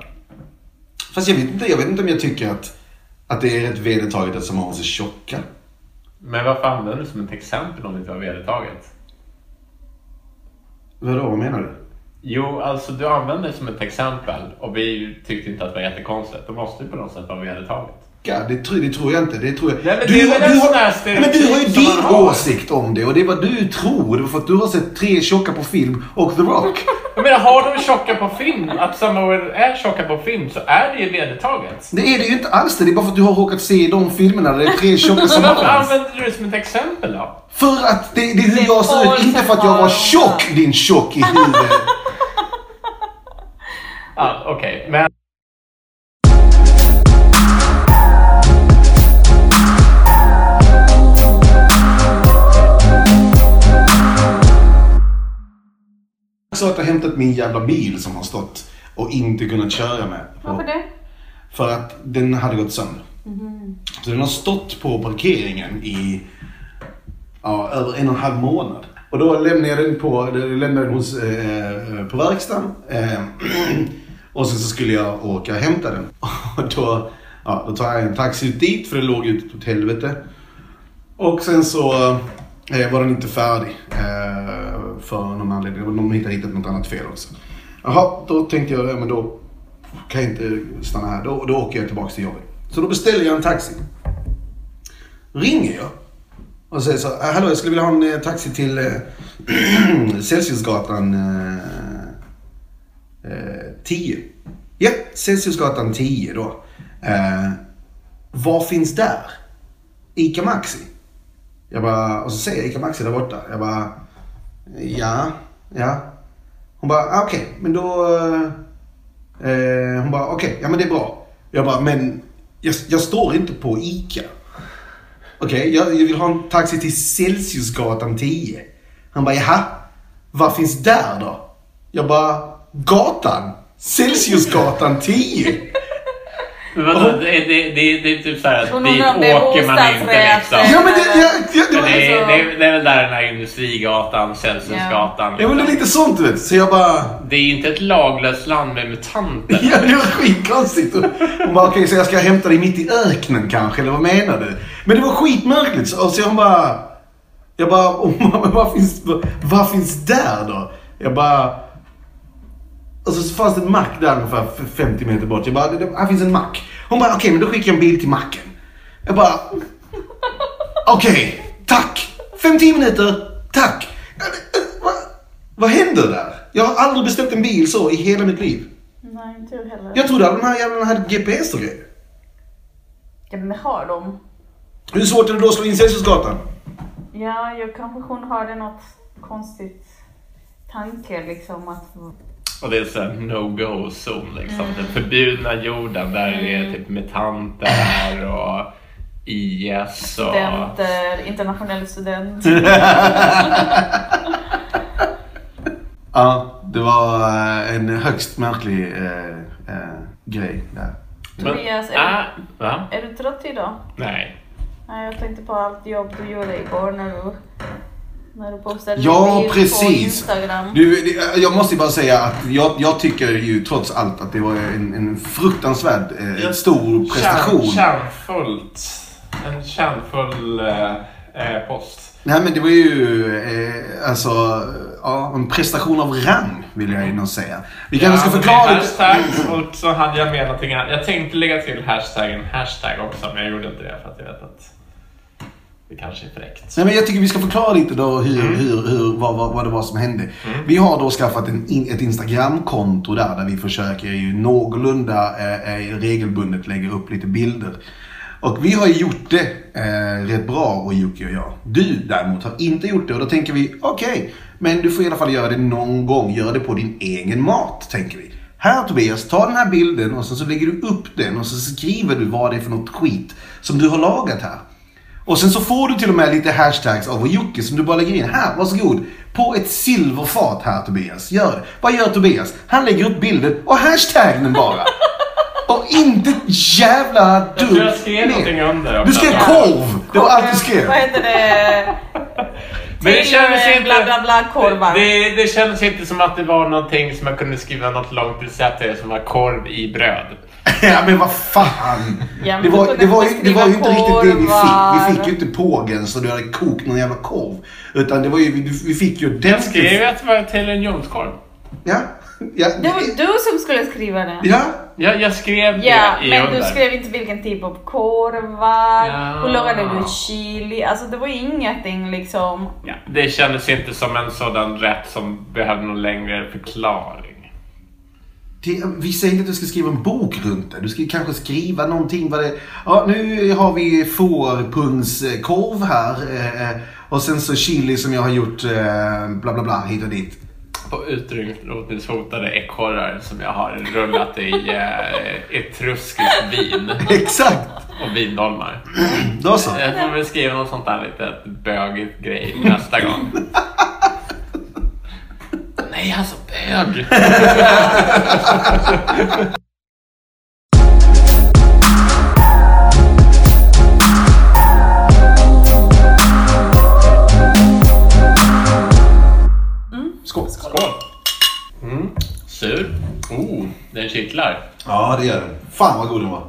Speaker 2: Fast jag vet inte, jag vet inte om jag tycker att, att det är rätt vedertaget att Samoans är tjocka.
Speaker 1: Men varför använder du som ett exempel om det inte var vedertaget?
Speaker 2: Vadå, vad menar du?
Speaker 1: Jo, alltså du använder det som ett exempel och vi tyckte inte att det var jättekonstigt. Då måste det på något sätt vara vedertaget.
Speaker 2: Ja, det, tror, det tror jag inte. Det tror jag.
Speaker 1: Nej, men det är väl en sån här
Speaker 2: Nej, men du har ju
Speaker 1: stereotyp som
Speaker 2: din
Speaker 1: man har.
Speaker 2: åsikt om det och det är vad du tror. Det var för att du har sett tre tjocka på film och The Rock.
Speaker 1: Jag menar, har de tjocka på film, att Samoan är tjocka på film så är det ju vedertaget.
Speaker 2: Det är det ju inte alls det. Det är bara för att du har råkat se de filmerna där det är tre tjocka som
Speaker 1: Varför
Speaker 2: har.
Speaker 1: använder du det som ett exempel då?
Speaker 2: För att det, det är
Speaker 3: Det
Speaker 2: hur
Speaker 3: är
Speaker 2: jag ser
Speaker 3: folk
Speaker 2: ut. Inte
Speaker 3: som
Speaker 2: för att jag
Speaker 3: har
Speaker 2: var
Speaker 3: dem.
Speaker 2: tjock, din tjock i huvudet.
Speaker 1: Ja, Okej, men...
Speaker 2: Så att jag har hämtat min jävla bil som har stått och inte kunnat köra med.
Speaker 3: Varför det? Mhm.
Speaker 2: För att den hade gått sönder. Så den har stått på parkeringen i ja, över en och en halv månad. Och då lämnade jag den, på, lämnade den hos, eh, på verkstaden. Eh, och sen så skulle jag åka och hämta den. Och då, ja, då tar jag en taxi ut dit för det låg ute åt helvete. Och sen så eh, var den inte färdig eh, för någon anledning. Det var- De hittade hittat något annat fel också. Jaha, då tänkte jag, ja, men då kan jag inte stanna här. Då, då åker jag tillbaka till jobbet. Så då beställer jag en taxi. Ringer jag och säger så här, hallå jag skulle vilja ha en eh, taxi till eh, Celsiusgatan eh, eh, 10. Ja, Celsiusgatan 10 då. Eh, vad finns där? Ica Maxi? Jag bara, och så säger jag Ica Maxi där borta. Jag bara, ja, ja. Hon bara, ah, okej, men då... Eh, hon bara, okej, ja men det är bra. Jag bara, men jag, jag står inte på ICA. Okej, jag, jag vill ha en taxi till Celsiusgatan 10. Han bara, jaha? Vad finns där då? Jag bara, gatan? Celsiusgatan 10?
Speaker 1: Men vadå, det, det, det, det är typ såhär att
Speaker 3: Hon
Speaker 1: dit
Speaker 3: undrar om det är
Speaker 1: åker man inte
Speaker 3: bostadsrätt.
Speaker 1: liksom.
Speaker 2: ja men det, ja, ja, det
Speaker 1: Men
Speaker 2: var...
Speaker 1: Det är, det, är, det är väl där den här Industrigatan, liksom. Celsiusgatan.
Speaker 2: Ja men det är lite sånt du vet. Så jag bara...
Speaker 1: Det är ju inte ett laglöst land med mutanter.
Speaker 2: Ja, det var skitkonstigt. Hon bara, okej så jag ska hämta dig mitt i öknen kanske, eller vad menar du? Men det var skitmärkligt. Så, och så hon bara... Jag bara, "Åh, mamma, vad finns, vad finns där då? Jag bara... Och så fanns det en mack där ungefär f- 50 meter bort. Jag bara, "Det- det- här finns en mack. Hon bara, okej men då skickar jag en bil till macken. Jag bara, okej, tack. 5-10 minuter, tack. Eh, eh, Vad, vad händer där? Jag har aldrig beställt en bil så i hela mitt liv.
Speaker 3: Nej, inte du heller.
Speaker 2: Jag trodde alla de här jävlarna hade GPS och grejer.
Speaker 3: Ja, men har de?
Speaker 2: Hur svårt är det då att slå in Celsiusgatan?
Speaker 3: Ja, jag kanske hon hörde något konstigt tanke liksom att...
Speaker 1: Och det är såhär no-go-zon liksom. Den förbjudna jorden där det är typ mutanter och IS och...
Speaker 3: Studenter, internationell student.
Speaker 2: Mm. Ja, det var eh, en högst märklig eh, eh, grej där.
Speaker 1: Men-
Speaker 3: Tobias, är-
Speaker 1: Ah, va?
Speaker 3: Är du trött idag?
Speaker 1: Nej.
Speaker 3: Nej, jag tänkte på allt jobb du gjorde igår när du, när du postade
Speaker 2: Ja,
Speaker 3: en bild på
Speaker 2: precis.
Speaker 3: Instagram.
Speaker 2: Du, det- eh, jag måste ju bara säga att jag, jag tycker ju trots allt att det var en, en fruktansvärd eh,
Speaker 1: Jag-
Speaker 2: stor prestation.
Speaker 1: Kärn, kärnfullt. En kärnfull eh, eh, post.
Speaker 2: Nej men det var ju eh, alltså, ja, en prestation av rang vill jag ju nog säga. Vi kanske ska
Speaker 1: men
Speaker 2: förklara
Speaker 1: det är
Speaker 2: lite-
Speaker 1: hashtags och så hade jag med någonting annat. Jag tänkte lägga till hashtaggen hashtag också men jag gjorde inte det för att jag vet att det kanske är fräckt.
Speaker 2: Nej, men jag tycker vi ska förklara lite då hur, hur, hur, vad, vad, vad det var som hände. Vi har då skaffat en, in, ett Instagram-konto där, där vi försöker ju någorlunda eh, eh, regelbundet lägga upp lite bilder. Och vi har ju gjort det eh, rätt bra, och Yuki och jag. Du däremot har inte gjort det och då tänker vi, okej, men du får i alla fall göra det någon gång. Gör det på din egen mat, tänker vi. Här Tobias, ta den här bilden och sen så lägger du upp den och så skriver du vad det är för något skit som du har lagat här. Och sen så får du till och med lite hashtags av Jocke som du bara lägger in. Här, varsågod. På ett silverfat här Tobias. Gör det. Vad gör Tobias? Han lägger upp bilden och hashtaggen bara. Och inte ett jävla dugg
Speaker 1: Jag tror jag skrev
Speaker 2: mer.
Speaker 1: någonting under
Speaker 2: Du skrev
Speaker 1: också.
Speaker 2: korv! Det var allt du skrev.
Speaker 3: Vad heter det?
Speaker 1: Men det kändes
Speaker 3: Till, eh,
Speaker 1: inte...
Speaker 3: bla, bla, bla, korvar.
Speaker 1: Det, det kändes inte som att det var någonting som jag kunde skriva något långt recept till som var korv i bröd.
Speaker 2: Ja men vad fan.
Speaker 3: Ja, men
Speaker 2: Det var,
Speaker 3: då
Speaker 2: det
Speaker 3: kunde
Speaker 2: var,
Speaker 3: vi
Speaker 2: ju, det var ju inte
Speaker 3: skriva
Speaker 2: riktigt det vi fick.
Speaker 3: korvar.
Speaker 2: Vi fick ju inte pågen så du hade kokt någon jävla korv. Utan det var ju, vi- vi fick ju den
Speaker 1: Jag skrev ju att det var till en jomskorv.
Speaker 2: Ja. Ja.
Speaker 3: Det var du som skulle skriva det.
Speaker 2: ja.
Speaker 1: Jag, jag skrev
Speaker 3: Ja,
Speaker 1: det i
Speaker 3: men
Speaker 1: under.
Speaker 3: du skrev inte vilken typ av korvar,
Speaker 1: Ja.
Speaker 3: hur lagade du chili? Alltså det var ju ingenting liksom.
Speaker 1: Ja, det kändes inte som en sådan rätt som behövde någon längre förklaring.
Speaker 2: Det, vi säger inte att du ska skriva en bok runt det. Du ska ju kanske skriva någonting. Vad det, ja, nu har vi fårpungskorv här. Eh, och sen så chili som jag har gjort eh, bla bla bla hit och dit.
Speaker 1: På utrotningshotade ekorrar som jag har rullat i eh, etruskiskt vin
Speaker 2: Exakt!
Speaker 1: och vindolmar.
Speaker 2: Då så.
Speaker 1: Jag får väl skriva någon sånt där litet bögigt grej nästa gång. Nej, alltså bög!
Speaker 2: Skål.
Speaker 1: Skål! Mm. Sur. Oh, den kittlar.
Speaker 2: Ja, det gör den. Fan vad god den var.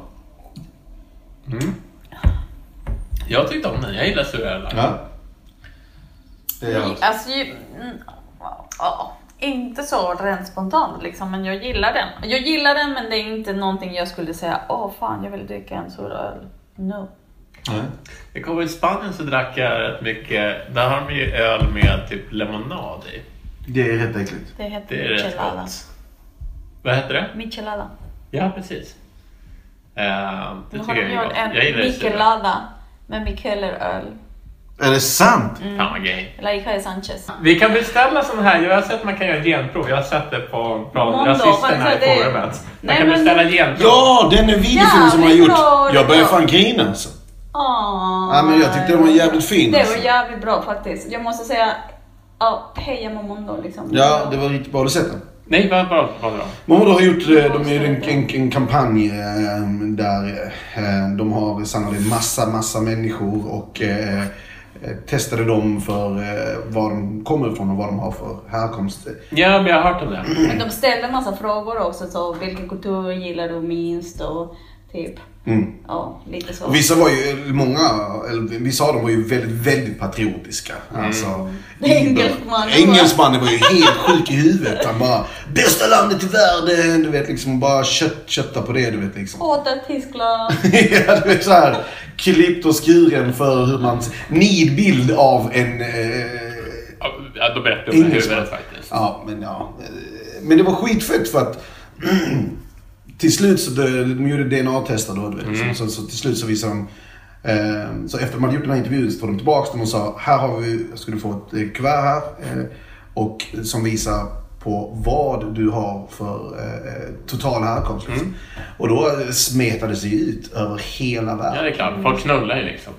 Speaker 1: Jag tyckte om den. Jag gillar sura ölar.
Speaker 2: Ja. Det gör den.
Speaker 3: Alltså, ju, mm, ja, inte så rent spontant liksom, men jag gillar den. Jag gillar den men det är inte någonting jag skulle säga, åh fan jag vill dricka en suröl. No.
Speaker 2: Nej.
Speaker 1: Jag kommer i Spanien så drack jag rätt mycket. Där har de ju öl med typ lemonad i.
Speaker 2: Det är rätt äckligt.
Speaker 3: Det heter
Speaker 1: Det är rätt
Speaker 3: michelada.
Speaker 1: gott. Vad heter det?
Speaker 3: Michelada.
Speaker 1: Ja, precis. Eh, det
Speaker 3: Nu
Speaker 1: tycker
Speaker 3: har
Speaker 1: jag
Speaker 3: de
Speaker 1: är
Speaker 3: gjort
Speaker 1: gott.
Speaker 3: en
Speaker 1: Jag gillar ju sura.
Speaker 3: michelada med Micheleröl.
Speaker 2: Är det sant?
Speaker 1: Fan vad gay.
Speaker 3: Eller Ikea Sanchez.
Speaker 1: Vi kan beställa sån här. Jag har sett att man kan göra genprov. Jag har sett det på, på
Speaker 3: Måndag,
Speaker 1: rasisterna i
Speaker 3: alltså, det-
Speaker 1: forumet. Man
Speaker 3: Nej,
Speaker 1: kan
Speaker 3: men-
Speaker 1: beställa genprov.
Speaker 2: Ja, den är videofilmen som
Speaker 3: Jävligt
Speaker 2: jag har gjort.
Speaker 3: bra,
Speaker 2: Jag börjar
Speaker 3: bra.
Speaker 2: fan grina alltså.
Speaker 3: Åh.
Speaker 2: Ja, men jag tyckte den var jävligt fin.
Speaker 3: Det var
Speaker 2: Alltså.
Speaker 3: jävligt bra faktiskt. Jag måste säga, ja, heja Momondo liksom.
Speaker 2: Ja, det var riktigt bra. Har du sett den?
Speaker 1: Nej, vad bra. Vad bra.
Speaker 2: Momodo har gjort, eh, de gör en, en, en kampanj eh, där eh, de har sannolikt massa, massa människor och eh, eh, testade dem för eh, var de kommer ifrån och vad de har för härkomst.
Speaker 1: Ja, men jag har hört om det.
Speaker 3: Men de ställde en massa frågor också, så vilken kultur gillar du minst och typ,
Speaker 2: Mm.
Speaker 3: ja, lite så.
Speaker 2: Och vissa var ju, eller många, eller vissa av dem var ju väldigt, väldigt patriotiska. Alltså,
Speaker 3: Engelsman.
Speaker 2: Engelsmannen var ju helt sjuk i huvudet. Han bara, bästa landet i världen! Du vet liksom, bara kött, kötta på det du vet liksom.
Speaker 3: Åter Tyskland.
Speaker 2: ja, du vet såhär klippt och skuren för hur man... Nidbild av en... Eh,
Speaker 1: Ja, då berättar jag om det i
Speaker 2: Engelsman.
Speaker 1: huvudet faktiskt.
Speaker 2: Ja, men ja. Eh, Men det var skitfett för att till slut så började, de gjorde DNA-tester då, du vet.
Speaker 1: Mm.
Speaker 2: Så, så till slut så visade de... Eh, så efter man hade gjort den här intervjun så tog de tillbaka dem och sa här har vi, ska du få ett eh, kuvert här. Eh, och som visar på vad du har för eh, total härkomst. liksom.
Speaker 1: Mm.
Speaker 2: Och då eh, smetades det ju ut över hela världen.
Speaker 1: Ja, det är klart. Folk knullar ju liksom.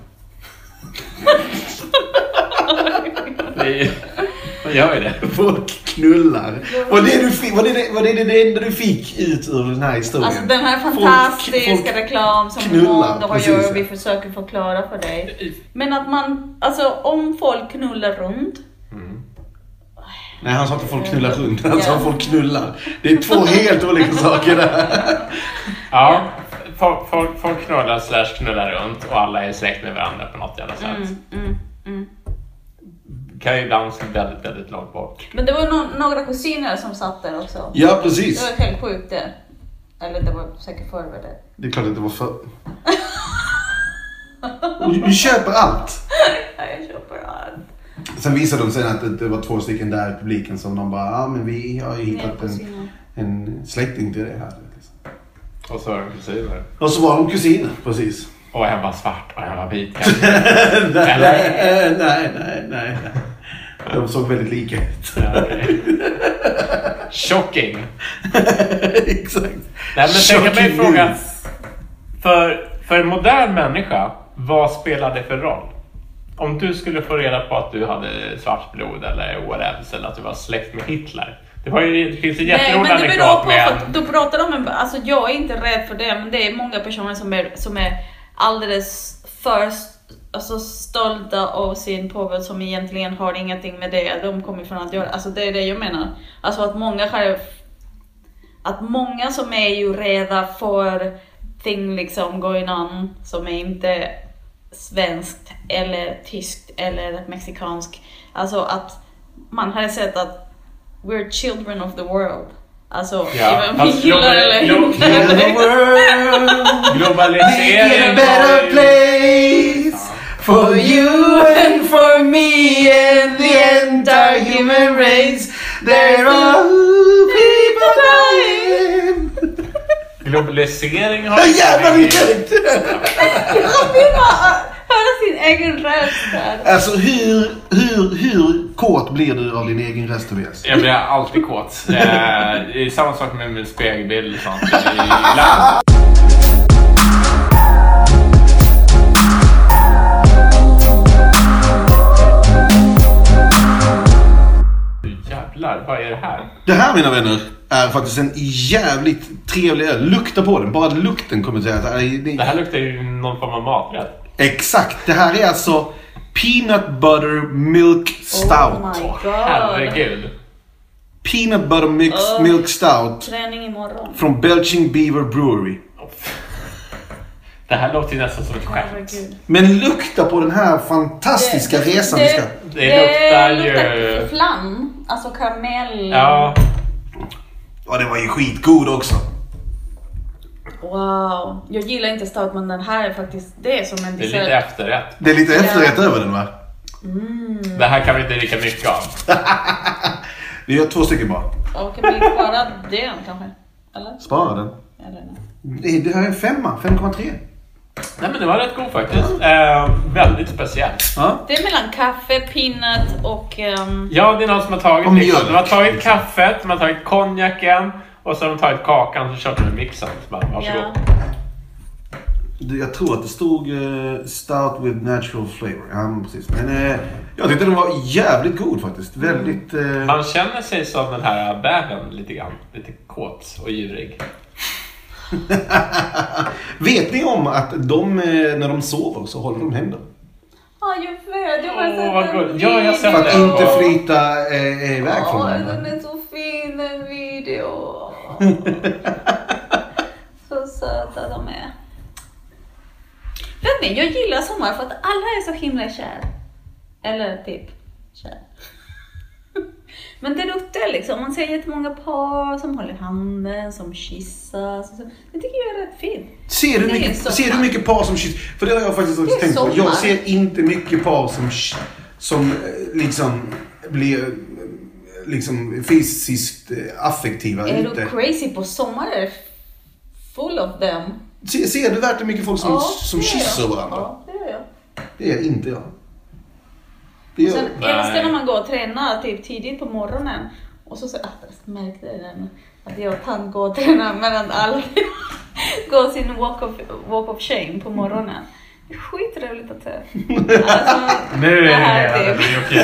Speaker 1: det är, man gör ju det.
Speaker 2: Folk knullar. Var det, du fick, var, det det, var det det enda du fick ut ur den här historien?
Speaker 3: Alltså den här
Speaker 2: Folk-
Speaker 3: fantastiska
Speaker 2: folk-
Speaker 3: reklam som
Speaker 2: knullar,
Speaker 3: Mondo har
Speaker 2: precis,
Speaker 3: gjort
Speaker 2: ja.
Speaker 3: och vi försöker förklara för dig. Men att man, alltså om folk knullar runt.
Speaker 2: Nej, han sa inte folk knullar runt. Han sa
Speaker 3: Ja.
Speaker 2: folk knullar. Det är två helt olika saker där.
Speaker 1: Ja, folk, folk, folk knullar slash knullar runt och alla är släkt med varandra på något jävla sätt.
Speaker 3: Mm, mm, mm.
Speaker 1: Kan ju ibland se väldigt, väldigt långt bort.
Speaker 3: Men det var no- några kusiner som satt där också.
Speaker 2: Ja,
Speaker 3: Det
Speaker 2: precis.
Speaker 3: var helt sjukt det. Eller det var säkert förberett.
Speaker 2: Det är klart att det var för... Och Du köper allt.
Speaker 3: Ja, jag köper allt.
Speaker 2: Sen visade de sen att det- det var två stycken där i publiken som de bara, ja ah, men vi har ju hittat en, en släkting till det här.
Speaker 1: Och så är de kusiner.
Speaker 2: Och så var de kusiner, precis.
Speaker 1: Och en var svart och en var vit.
Speaker 2: nej,
Speaker 1: Eller?
Speaker 2: nej, nej, nej, nej. De såg väldigt lika ut.
Speaker 1: Okej. Shocking.
Speaker 2: Exakt.
Speaker 1: Nej, men tänk att mig
Speaker 2: Shocking
Speaker 1: fråga.
Speaker 2: news.
Speaker 1: För, för en modern människa, vad spelar det för roll? Om du skulle få reda på att du hade svart blod eller whatevs eller att du var släkt med Hitler. Det, var ju, det finns en
Speaker 3: Nej
Speaker 1: jätterolig
Speaker 3: men det beror
Speaker 1: anekdot
Speaker 3: på,
Speaker 1: med en...
Speaker 3: för då pratar de om, alltså jag är inte rädd för det men det är många personer som är, som är alldeles för alltså, stolta av sin påvud som egentligen har ingenting med det de kommer från att göra. Alltså det är det jag menar. Alltså att många själv, att många som är ju rädda för ting liksom going on som är inte svenskt eller tyskt eller mexikanskt. Alltså att man hade sett att we're children of the world. Alltså,
Speaker 1: Ja,
Speaker 3: om vi
Speaker 1: fast
Speaker 3: gillar
Speaker 1: global-
Speaker 3: eller
Speaker 1: glo-
Speaker 2: Heal
Speaker 3: inte.
Speaker 2: the world. Make
Speaker 1: Globaliseringen
Speaker 2: it a better
Speaker 1: var ju...
Speaker 2: place for you and for me and the entire human race. There are people dying.
Speaker 1: Globalisering har...
Speaker 2: Ja, Jävlar vilken karaktär!
Speaker 3: Jag vill bara höra sin egen röst där.
Speaker 2: Alltså hur, hur, hur kåt blir du av din egen röst Tobias?
Speaker 1: Jag blir alltid kåt. Eh, Det är samma sak med min spegelbild liksom. och sånt. Jag gillar- Du Jävlar, vad är det här?
Speaker 2: Det här mina vänner är faktiskt en jävligt trevlig öl. Lukta på den, bara lukten kommer säga att "Aj, det är
Speaker 1: Det här luktar ju någon form av maträtt.
Speaker 2: Exakt, det här är alltså Peanut Butter Milk
Speaker 1: Oh
Speaker 3: Oh
Speaker 2: Stout.
Speaker 1: Herregud.
Speaker 2: Peanut Butter mix,
Speaker 1: Oh.
Speaker 3: Åh.
Speaker 2: Milk Stout
Speaker 3: Träning imorgon.
Speaker 2: från Belching Beaver Brewery.
Speaker 1: Det här låter ju nästan som ett skämt.
Speaker 3: Herregud.
Speaker 2: Men lukta på den här fantastiska resan vi ska...
Speaker 1: Det luktar ju-
Speaker 3: flan, alltså karamell.
Speaker 1: Ja,
Speaker 2: Ja, den var ju skitgod också.
Speaker 3: Wow. Jag gillar inte stout men den här är faktiskt, det är som en
Speaker 1: det är lite
Speaker 3: dessert.
Speaker 1: efterrätt.
Speaker 2: Det är lite
Speaker 3: Ja.
Speaker 2: efterrätt över den va?
Speaker 1: Det här kan vi inte dricka mycket av.
Speaker 2: Vi gör två stycken bara.
Speaker 3: Och kan vi spara den kanske? Eller?
Speaker 2: Spara den.
Speaker 3: Eller nej.
Speaker 2: Det det här är en femma, 5,3.
Speaker 1: Nej men det var rätt god faktiskt. Eh, väldigt speciellt.
Speaker 2: Ja.
Speaker 3: Det är mellan kaffe, peanut och... ehm,
Speaker 1: Ja, det är någon som har tagit
Speaker 2: Och
Speaker 1: liksom.
Speaker 2: mjölk.
Speaker 1: De har tagit kaffet, de har tagit konjaken och så har de tagit kakan och så kört med mixen. Så bara, varsågod.
Speaker 3: ja.
Speaker 2: Det- Jag tror att det stod eh, Stout with natural flavor. Ja, men precis. Men eh, jag tyckte den var jävligt god faktiskt. Väldigt... eh,
Speaker 1: Man känner sig som den här bävern lite grann. Lite kåt och djurig.
Speaker 2: Vet ni om att de, eh, när de sover så håller de händer?
Speaker 3: Ja, jag vet. Jag har
Speaker 1: Åh,
Speaker 3: sett
Speaker 1: vad
Speaker 3: en
Speaker 1: gulligt. Ja, jag har sett
Speaker 2: För
Speaker 3: video.
Speaker 2: att inte flyta eh, iväg
Speaker 3: Ja,
Speaker 2: från
Speaker 3: den
Speaker 2: varandra.
Speaker 3: är så fin den videon. så söta de är. Vet ni, jag gillar sommar för att alla är så himla kär. Eller typ kär. Men det luktar liksom, man ser jättemånga par som håller handen, som kyssas. och så. Det tycker jag är rätt fint.
Speaker 2: Ser du,
Speaker 3: Det är
Speaker 2: mycket,
Speaker 3: sommar.
Speaker 2: ser du mycket par som kysser? För det har jag faktiskt också
Speaker 3: Det är
Speaker 2: tänkt på.
Speaker 3: sommar.
Speaker 2: Jag ser inte mycket par som, sh- som eh, liksom blir eh, liksom fysiskt eh, affektiva
Speaker 3: Är
Speaker 2: ute.
Speaker 3: du crazy på sommar är full of them.
Speaker 2: Ser, ser du verkligen mycket folk som,
Speaker 3: Ja,
Speaker 2: som
Speaker 3: det gör jag.
Speaker 2: kysser varandra?
Speaker 3: Ja, det gör jag.
Speaker 2: Det är inte jag. Det gör
Speaker 3: Sen
Speaker 2: jag.
Speaker 1: Nej.
Speaker 3: älskar när man går och tränar typ tidigt på morgonen och så säger jag att märkte den att jag och tant går och tränar medan alla går sin walk of, walk of shame på morgonen. Det är skitroligt att se. Alltså,
Speaker 1: Nu
Speaker 3: det
Speaker 1: är det
Speaker 3: här
Speaker 1: redan
Speaker 3: typ,
Speaker 1: en okej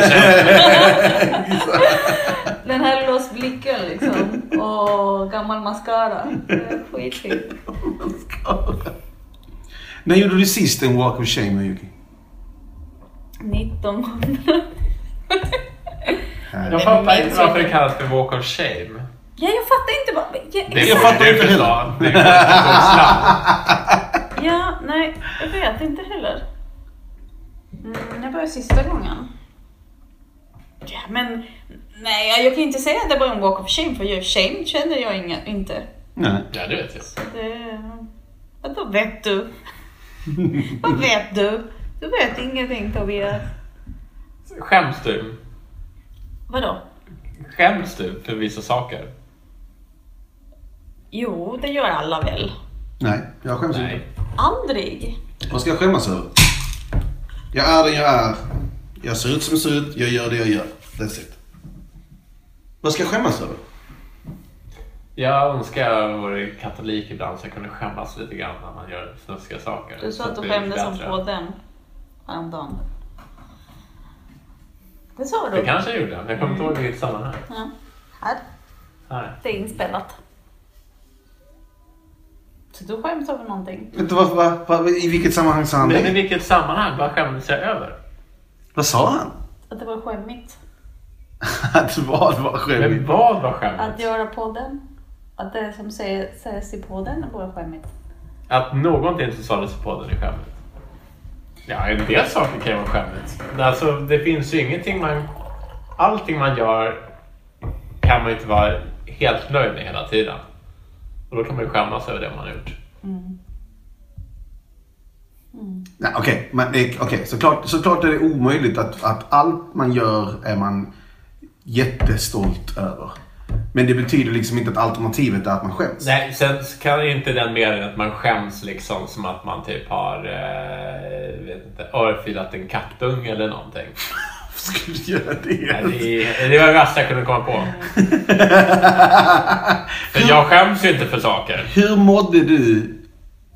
Speaker 3: den här lås blicken liksom och gammal mascara. Det är skitfint.
Speaker 2: När gjorde du sist en walk of shame Yuki?
Speaker 3: 1900.
Speaker 1: Jag fattar inte varför det kallas för walk of shame.
Speaker 3: Ja, jag fattar inte vad... Ja,
Speaker 1: Det är
Speaker 2: Jag
Speaker 1: för-
Speaker 2: fattar
Speaker 1: det är
Speaker 2: inte
Speaker 1: för
Speaker 2: heller.
Speaker 1: slan. Det är för slan.
Speaker 3: Ja, nej, jag vet inte heller. Mm, det var sista gången. Ja, men nej, jag kan inte säga att det var en walk of shame, för jag, shame känner jag inga, inte.
Speaker 2: Nej.
Speaker 1: Ja, det vet jag.
Speaker 3: Så det... Vad vet du? Vad vet du? Du vet ingenting Tobias.
Speaker 1: Skäms du?
Speaker 3: Vadå?
Speaker 1: Skäms du för vissa saker?
Speaker 3: Jo, det gör alla väl.
Speaker 2: Nej, jag skäms inte.
Speaker 1: Nej.
Speaker 3: Aldrig.
Speaker 2: Vad ska jag skämmas över? Jag är den jag är. Jag ser ut som jag ser ut. Jag gör det jag gör. That's it. Vad ska jag skämmas över?
Speaker 1: Jag önskar jag vore katolik ibland så jag kunde skämmas lite grann när man gör snuskiga saker.
Speaker 3: Du sa att
Speaker 1: Så
Speaker 3: du
Speaker 1: det blir
Speaker 3: skämdes som
Speaker 1: bättre.
Speaker 3: på den häromdagen. Det sa
Speaker 1: Det
Speaker 3: du.
Speaker 1: kanske jag gjorde, men jag kommer inte ihåg i vilket sammanhang.
Speaker 3: Ja. Här,
Speaker 1: Nej.
Speaker 3: det är inspelat. Så du skäms över någonting?
Speaker 2: Vänta, vad, vad, vad, I vilket sammanhang sa han
Speaker 1: Men i
Speaker 2: det?
Speaker 1: vilket sammanhang? Vad skämdes jag över?
Speaker 2: Vad sa han?
Speaker 3: Att det var skämmigt?
Speaker 2: Att vad var
Speaker 1: Men
Speaker 2: skämmigt?
Speaker 1: vad var
Speaker 3: Att
Speaker 1: skämmet?
Speaker 3: göra podden? Att det som säger- sägs i podden var skämmigt?
Speaker 1: Att någonting som sades i podden är skämmigt. Ja, en del saker kan ju vara skämmigt. Men Alltså, det finns ju ingenting man... Allting man gör kan man ju inte vara helt nöjd med hela tiden. Och då kan man ju skämmas över det man har gjort.
Speaker 2: Nej, Okej, men, eh, okej, såklart, såklart är det omöjligt att, att allt man gör är man jättestolt över. Men det betyder liksom inte att alternativet är att man skäms.
Speaker 1: Nej, sen kan inte den meningen att man skäms liksom som att man typ har eh, vet inte, örfilat en kattunge eller någonting.
Speaker 2: Varför skulle du göra det?
Speaker 1: Nej, Det, det var det värsta jag kunde komma på. För jag skäms ju inte för saker.
Speaker 2: Hur mådde du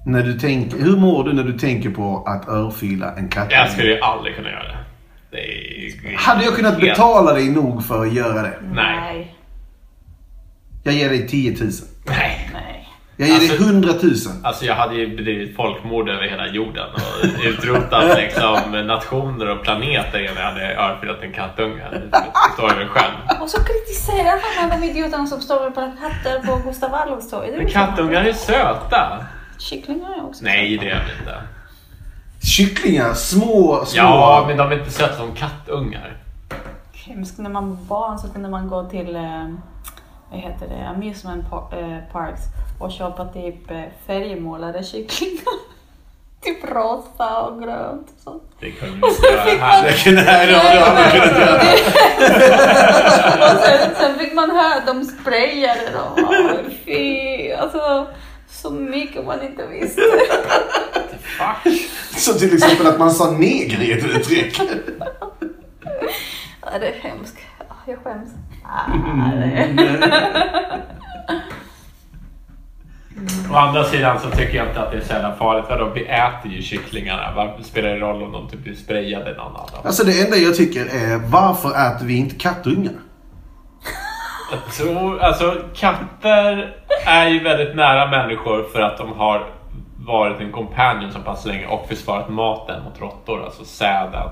Speaker 2: när du tänker, hur mår du när du tänker på att örfila en katt?
Speaker 1: Jag skulle ju aldrig kunna göra det. det är,
Speaker 2: Hade jag kunnat
Speaker 1: helt-
Speaker 2: betala dig nog för att göra det?
Speaker 1: Nej.
Speaker 3: Nej.
Speaker 2: Jag ger dig 10 000.
Speaker 1: Nej.
Speaker 3: Nej.
Speaker 2: Jag ger
Speaker 1: Alltså-
Speaker 2: dig 100 000.
Speaker 1: Alltså jag hade ju bedrivit folkmord över hela jorden och utrotat liksom nationer och planeter innan jag hade örfilat en kattunge. Det står jag väl själv.
Speaker 3: Och så kritiserar han alla de idioterna som står med plakater på Gustav Adolfs torg. Det är
Speaker 1: Men
Speaker 3: väl så här.
Speaker 1: kattungar är söta.
Speaker 3: Kycklingar är också
Speaker 1: Nej, det är de inte.
Speaker 2: Kycklingar, små, små.
Speaker 1: Ja, men de är inte söta som kattungar.
Speaker 3: hemskt. När man var barn så kunde man gå till eh, vad heter det, amusement par- eh, parks och köpa typ eh, färgmålade kycklingar. typ rosa och grönt och sånt.
Speaker 1: Det kunde vi inte göra här.
Speaker 2: Nej, det har du aldrig kunnat göra.
Speaker 3: Och sen, sen fick man höra att de sprayade dem. Åh, Fy, alltså så mycket man inte visste.
Speaker 1: Fuck.
Speaker 2: Så till exempel att man sa neger i ett uttryck.
Speaker 3: Ja, det är hemskt. Ah, Jag skäms. Ah, det.
Speaker 1: Å andra sidan så tycker jag inte att det är så jävla farligt. Vadå, vi äter ju kycklingarna. Varför spelar det roll om de typ blir sprayade eller någon annan?
Speaker 2: Alltså det enda jag tycker är varför äter vi inte kattungar?
Speaker 1: Jag tror, alltså katter är ju väldigt nära människor för att de har varit en companion så pass länge och försvarat maten mot råttor, alltså säden.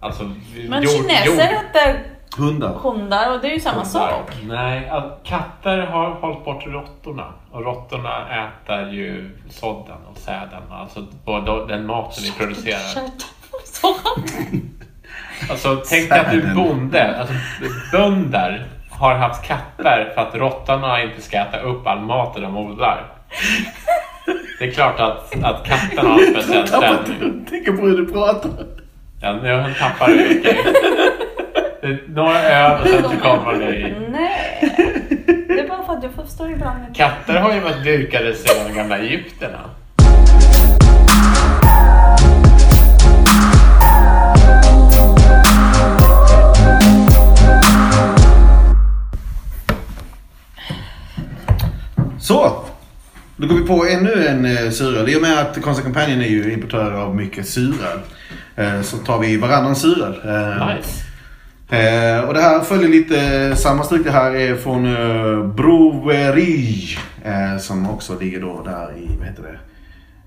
Speaker 1: Alltså,
Speaker 3: Men
Speaker 1: jord-
Speaker 3: kineser
Speaker 1: jord-
Speaker 3: äter
Speaker 2: Hundar.
Speaker 3: hundar och det är ju samma sak.
Speaker 1: Nej, all- katter har hållit bort råttorna. Och råttorna äter ju sodden och säden. Alltså både den maten vi producerar.
Speaker 3: Så.
Speaker 1: Alltså tänk att du är
Speaker 2: Säden.
Speaker 1: bonde. Alltså bönder har haft katter för att råttorna inte ska äta upp all mat de odlar. Det är klart att, att katterna har en speciell ställning.
Speaker 2: Jag tänker på hur du pratar.
Speaker 1: Ja, nu tappar du okej. Det är Några öl och sen så kommer det i.
Speaker 3: Nej. Det är bara för att jag förstår ibland inte.
Speaker 1: Katter har ju varit dyrkade sedan de gamla egyptierna.
Speaker 2: Så! Då går vi på ännu en eh, suröl. I och med att Konstiga Kampanjen är ju importör av mycket suröl. eh, Så tar vi varannan suröl. Eh,
Speaker 1: Nice.
Speaker 2: eh, Och det här följer lite samma stycke. Det här är från eh, Broveri. eh, Som också ligger då där i, vad heter det?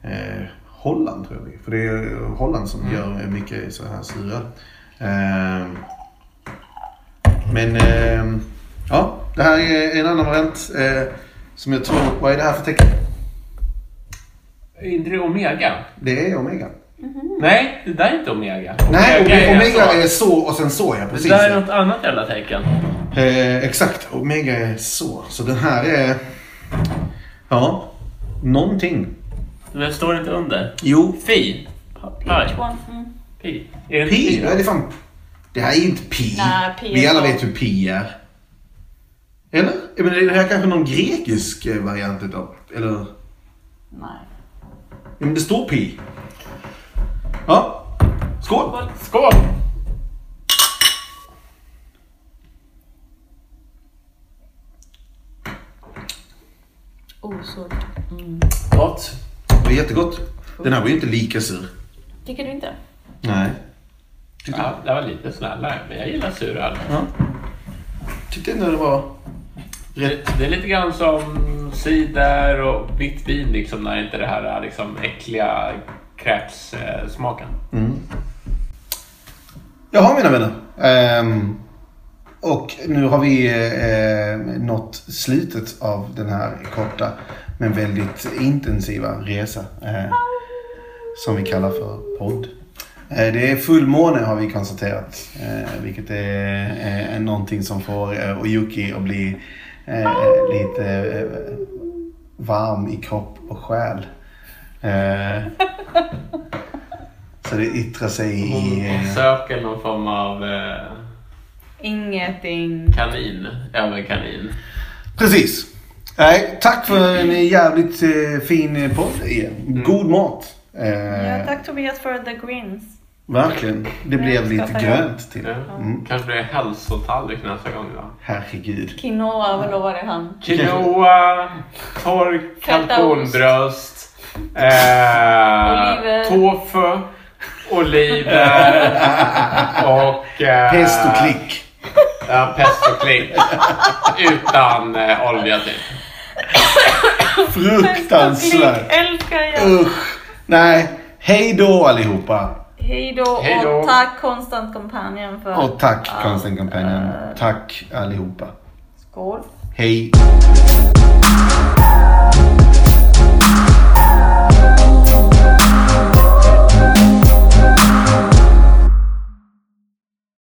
Speaker 2: Eh, Holland tror jag det är. För det är Holland som
Speaker 1: Mm.
Speaker 2: gör mycket så här suröl. Eh, men eh, ja, det här är en annan variant. Eh, som jag tror, vad är det här för tecken?
Speaker 1: Är inte det omega?
Speaker 2: Det är omega.
Speaker 1: Nej, det där är inte omega.
Speaker 2: Nej, omega,
Speaker 1: så.
Speaker 2: är så och sen så ja,
Speaker 1: Det
Speaker 2: precis.
Speaker 1: där är något annat jävla tecken.
Speaker 2: Eh, exakt, omega är så. Så den här är, ja, någonting.
Speaker 1: Men står det inte under?
Speaker 2: Jo,
Speaker 1: Fi? Pi?
Speaker 3: Mm.
Speaker 1: Pi? Är det
Speaker 2: pi,
Speaker 1: pi?
Speaker 2: det är fan, det här är ju inte pi.
Speaker 3: Nej, pi är
Speaker 2: Vi alla
Speaker 3: så.
Speaker 2: vet hur pi är. Eller? Ja, Men är det här kanske någon grekisk eh, variant utav, eller?
Speaker 3: Nej.
Speaker 2: Men det står P. Ja. Skål!
Speaker 1: Skål!
Speaker 3: Osurt.
Speaker 2: Gott. Det var jättegott. Den här var ju inte lika sur.
Speaker 3: Tycker du inte?
Speaker 2: Nej. Tyckte,
Speaker 1: Ja, det var lite snällare, men jag gillar suröl.
Speaker 2: ja. Tyckte ändå det var...
Speaker 1: Det det är lite grann som cider och vitt vin liksom när inte det här är liksom äckliga kräftsmaken.
Speaker 2: Jaha mina vänner. Ehm, och nu har vi eh, nått slutet av den här korta men väldigt intensiva resa. Eh, som vi kallar för podd. Eh, det är fullmåne har vi konstaterat. Eh, vilket är eh, någonting som får eh, Oyuki att bli eh, lite eh, varm i kropp och själ. Eh, så det yttrar sig i...
Speaker 1: Hon
Speaker 2: eh,
Speaker 1: söker någon form av eh,
Speaker 3: Ingenting.
Speaker 1: kanin, överkanin.
Speaker 2: Precis. Nej, tack för en jävligt eh, fin eh, podd igen. God mat. Eh,
Speaker 3: Ja, tack Tobias för the greens.
Speaker 2: Verkligen. Det blev lite
Speaker 3: skrattar jag.
Speaker 2: grönt till. Mm.
Speaker 1: Ja. Kanske blir det hälsotallrik nästa gång då.
Speaker 2: Herregud.
Speaker 3: Quinoa, vad lovade han?
Speaker 1: Quinoa, torr kalkonbröst, eh,
Speaker 3: Oliver.
Speaker 1: tofu, oliver och... Eh,
Speaker 2: Pest och klick.
Speaker 1: Ja, pest och klick. Utan eh, olja typ.
Speaker 2: Fruktansvärt.
Speaker 3: Älskar jag.
Speaker 2: Usch. Nej. Hej då allihopa.
Speaker 3: Hej då
Speaker 1: Hej då.
Speaker 3: och tack Constant Companion för... eh,
Speaker 2: Och tack
Speaker 3: allt.
Speaker 2: Constant Companion. Tack allihopa.
Speaker 3: Skål.
Speaker 2: Hej.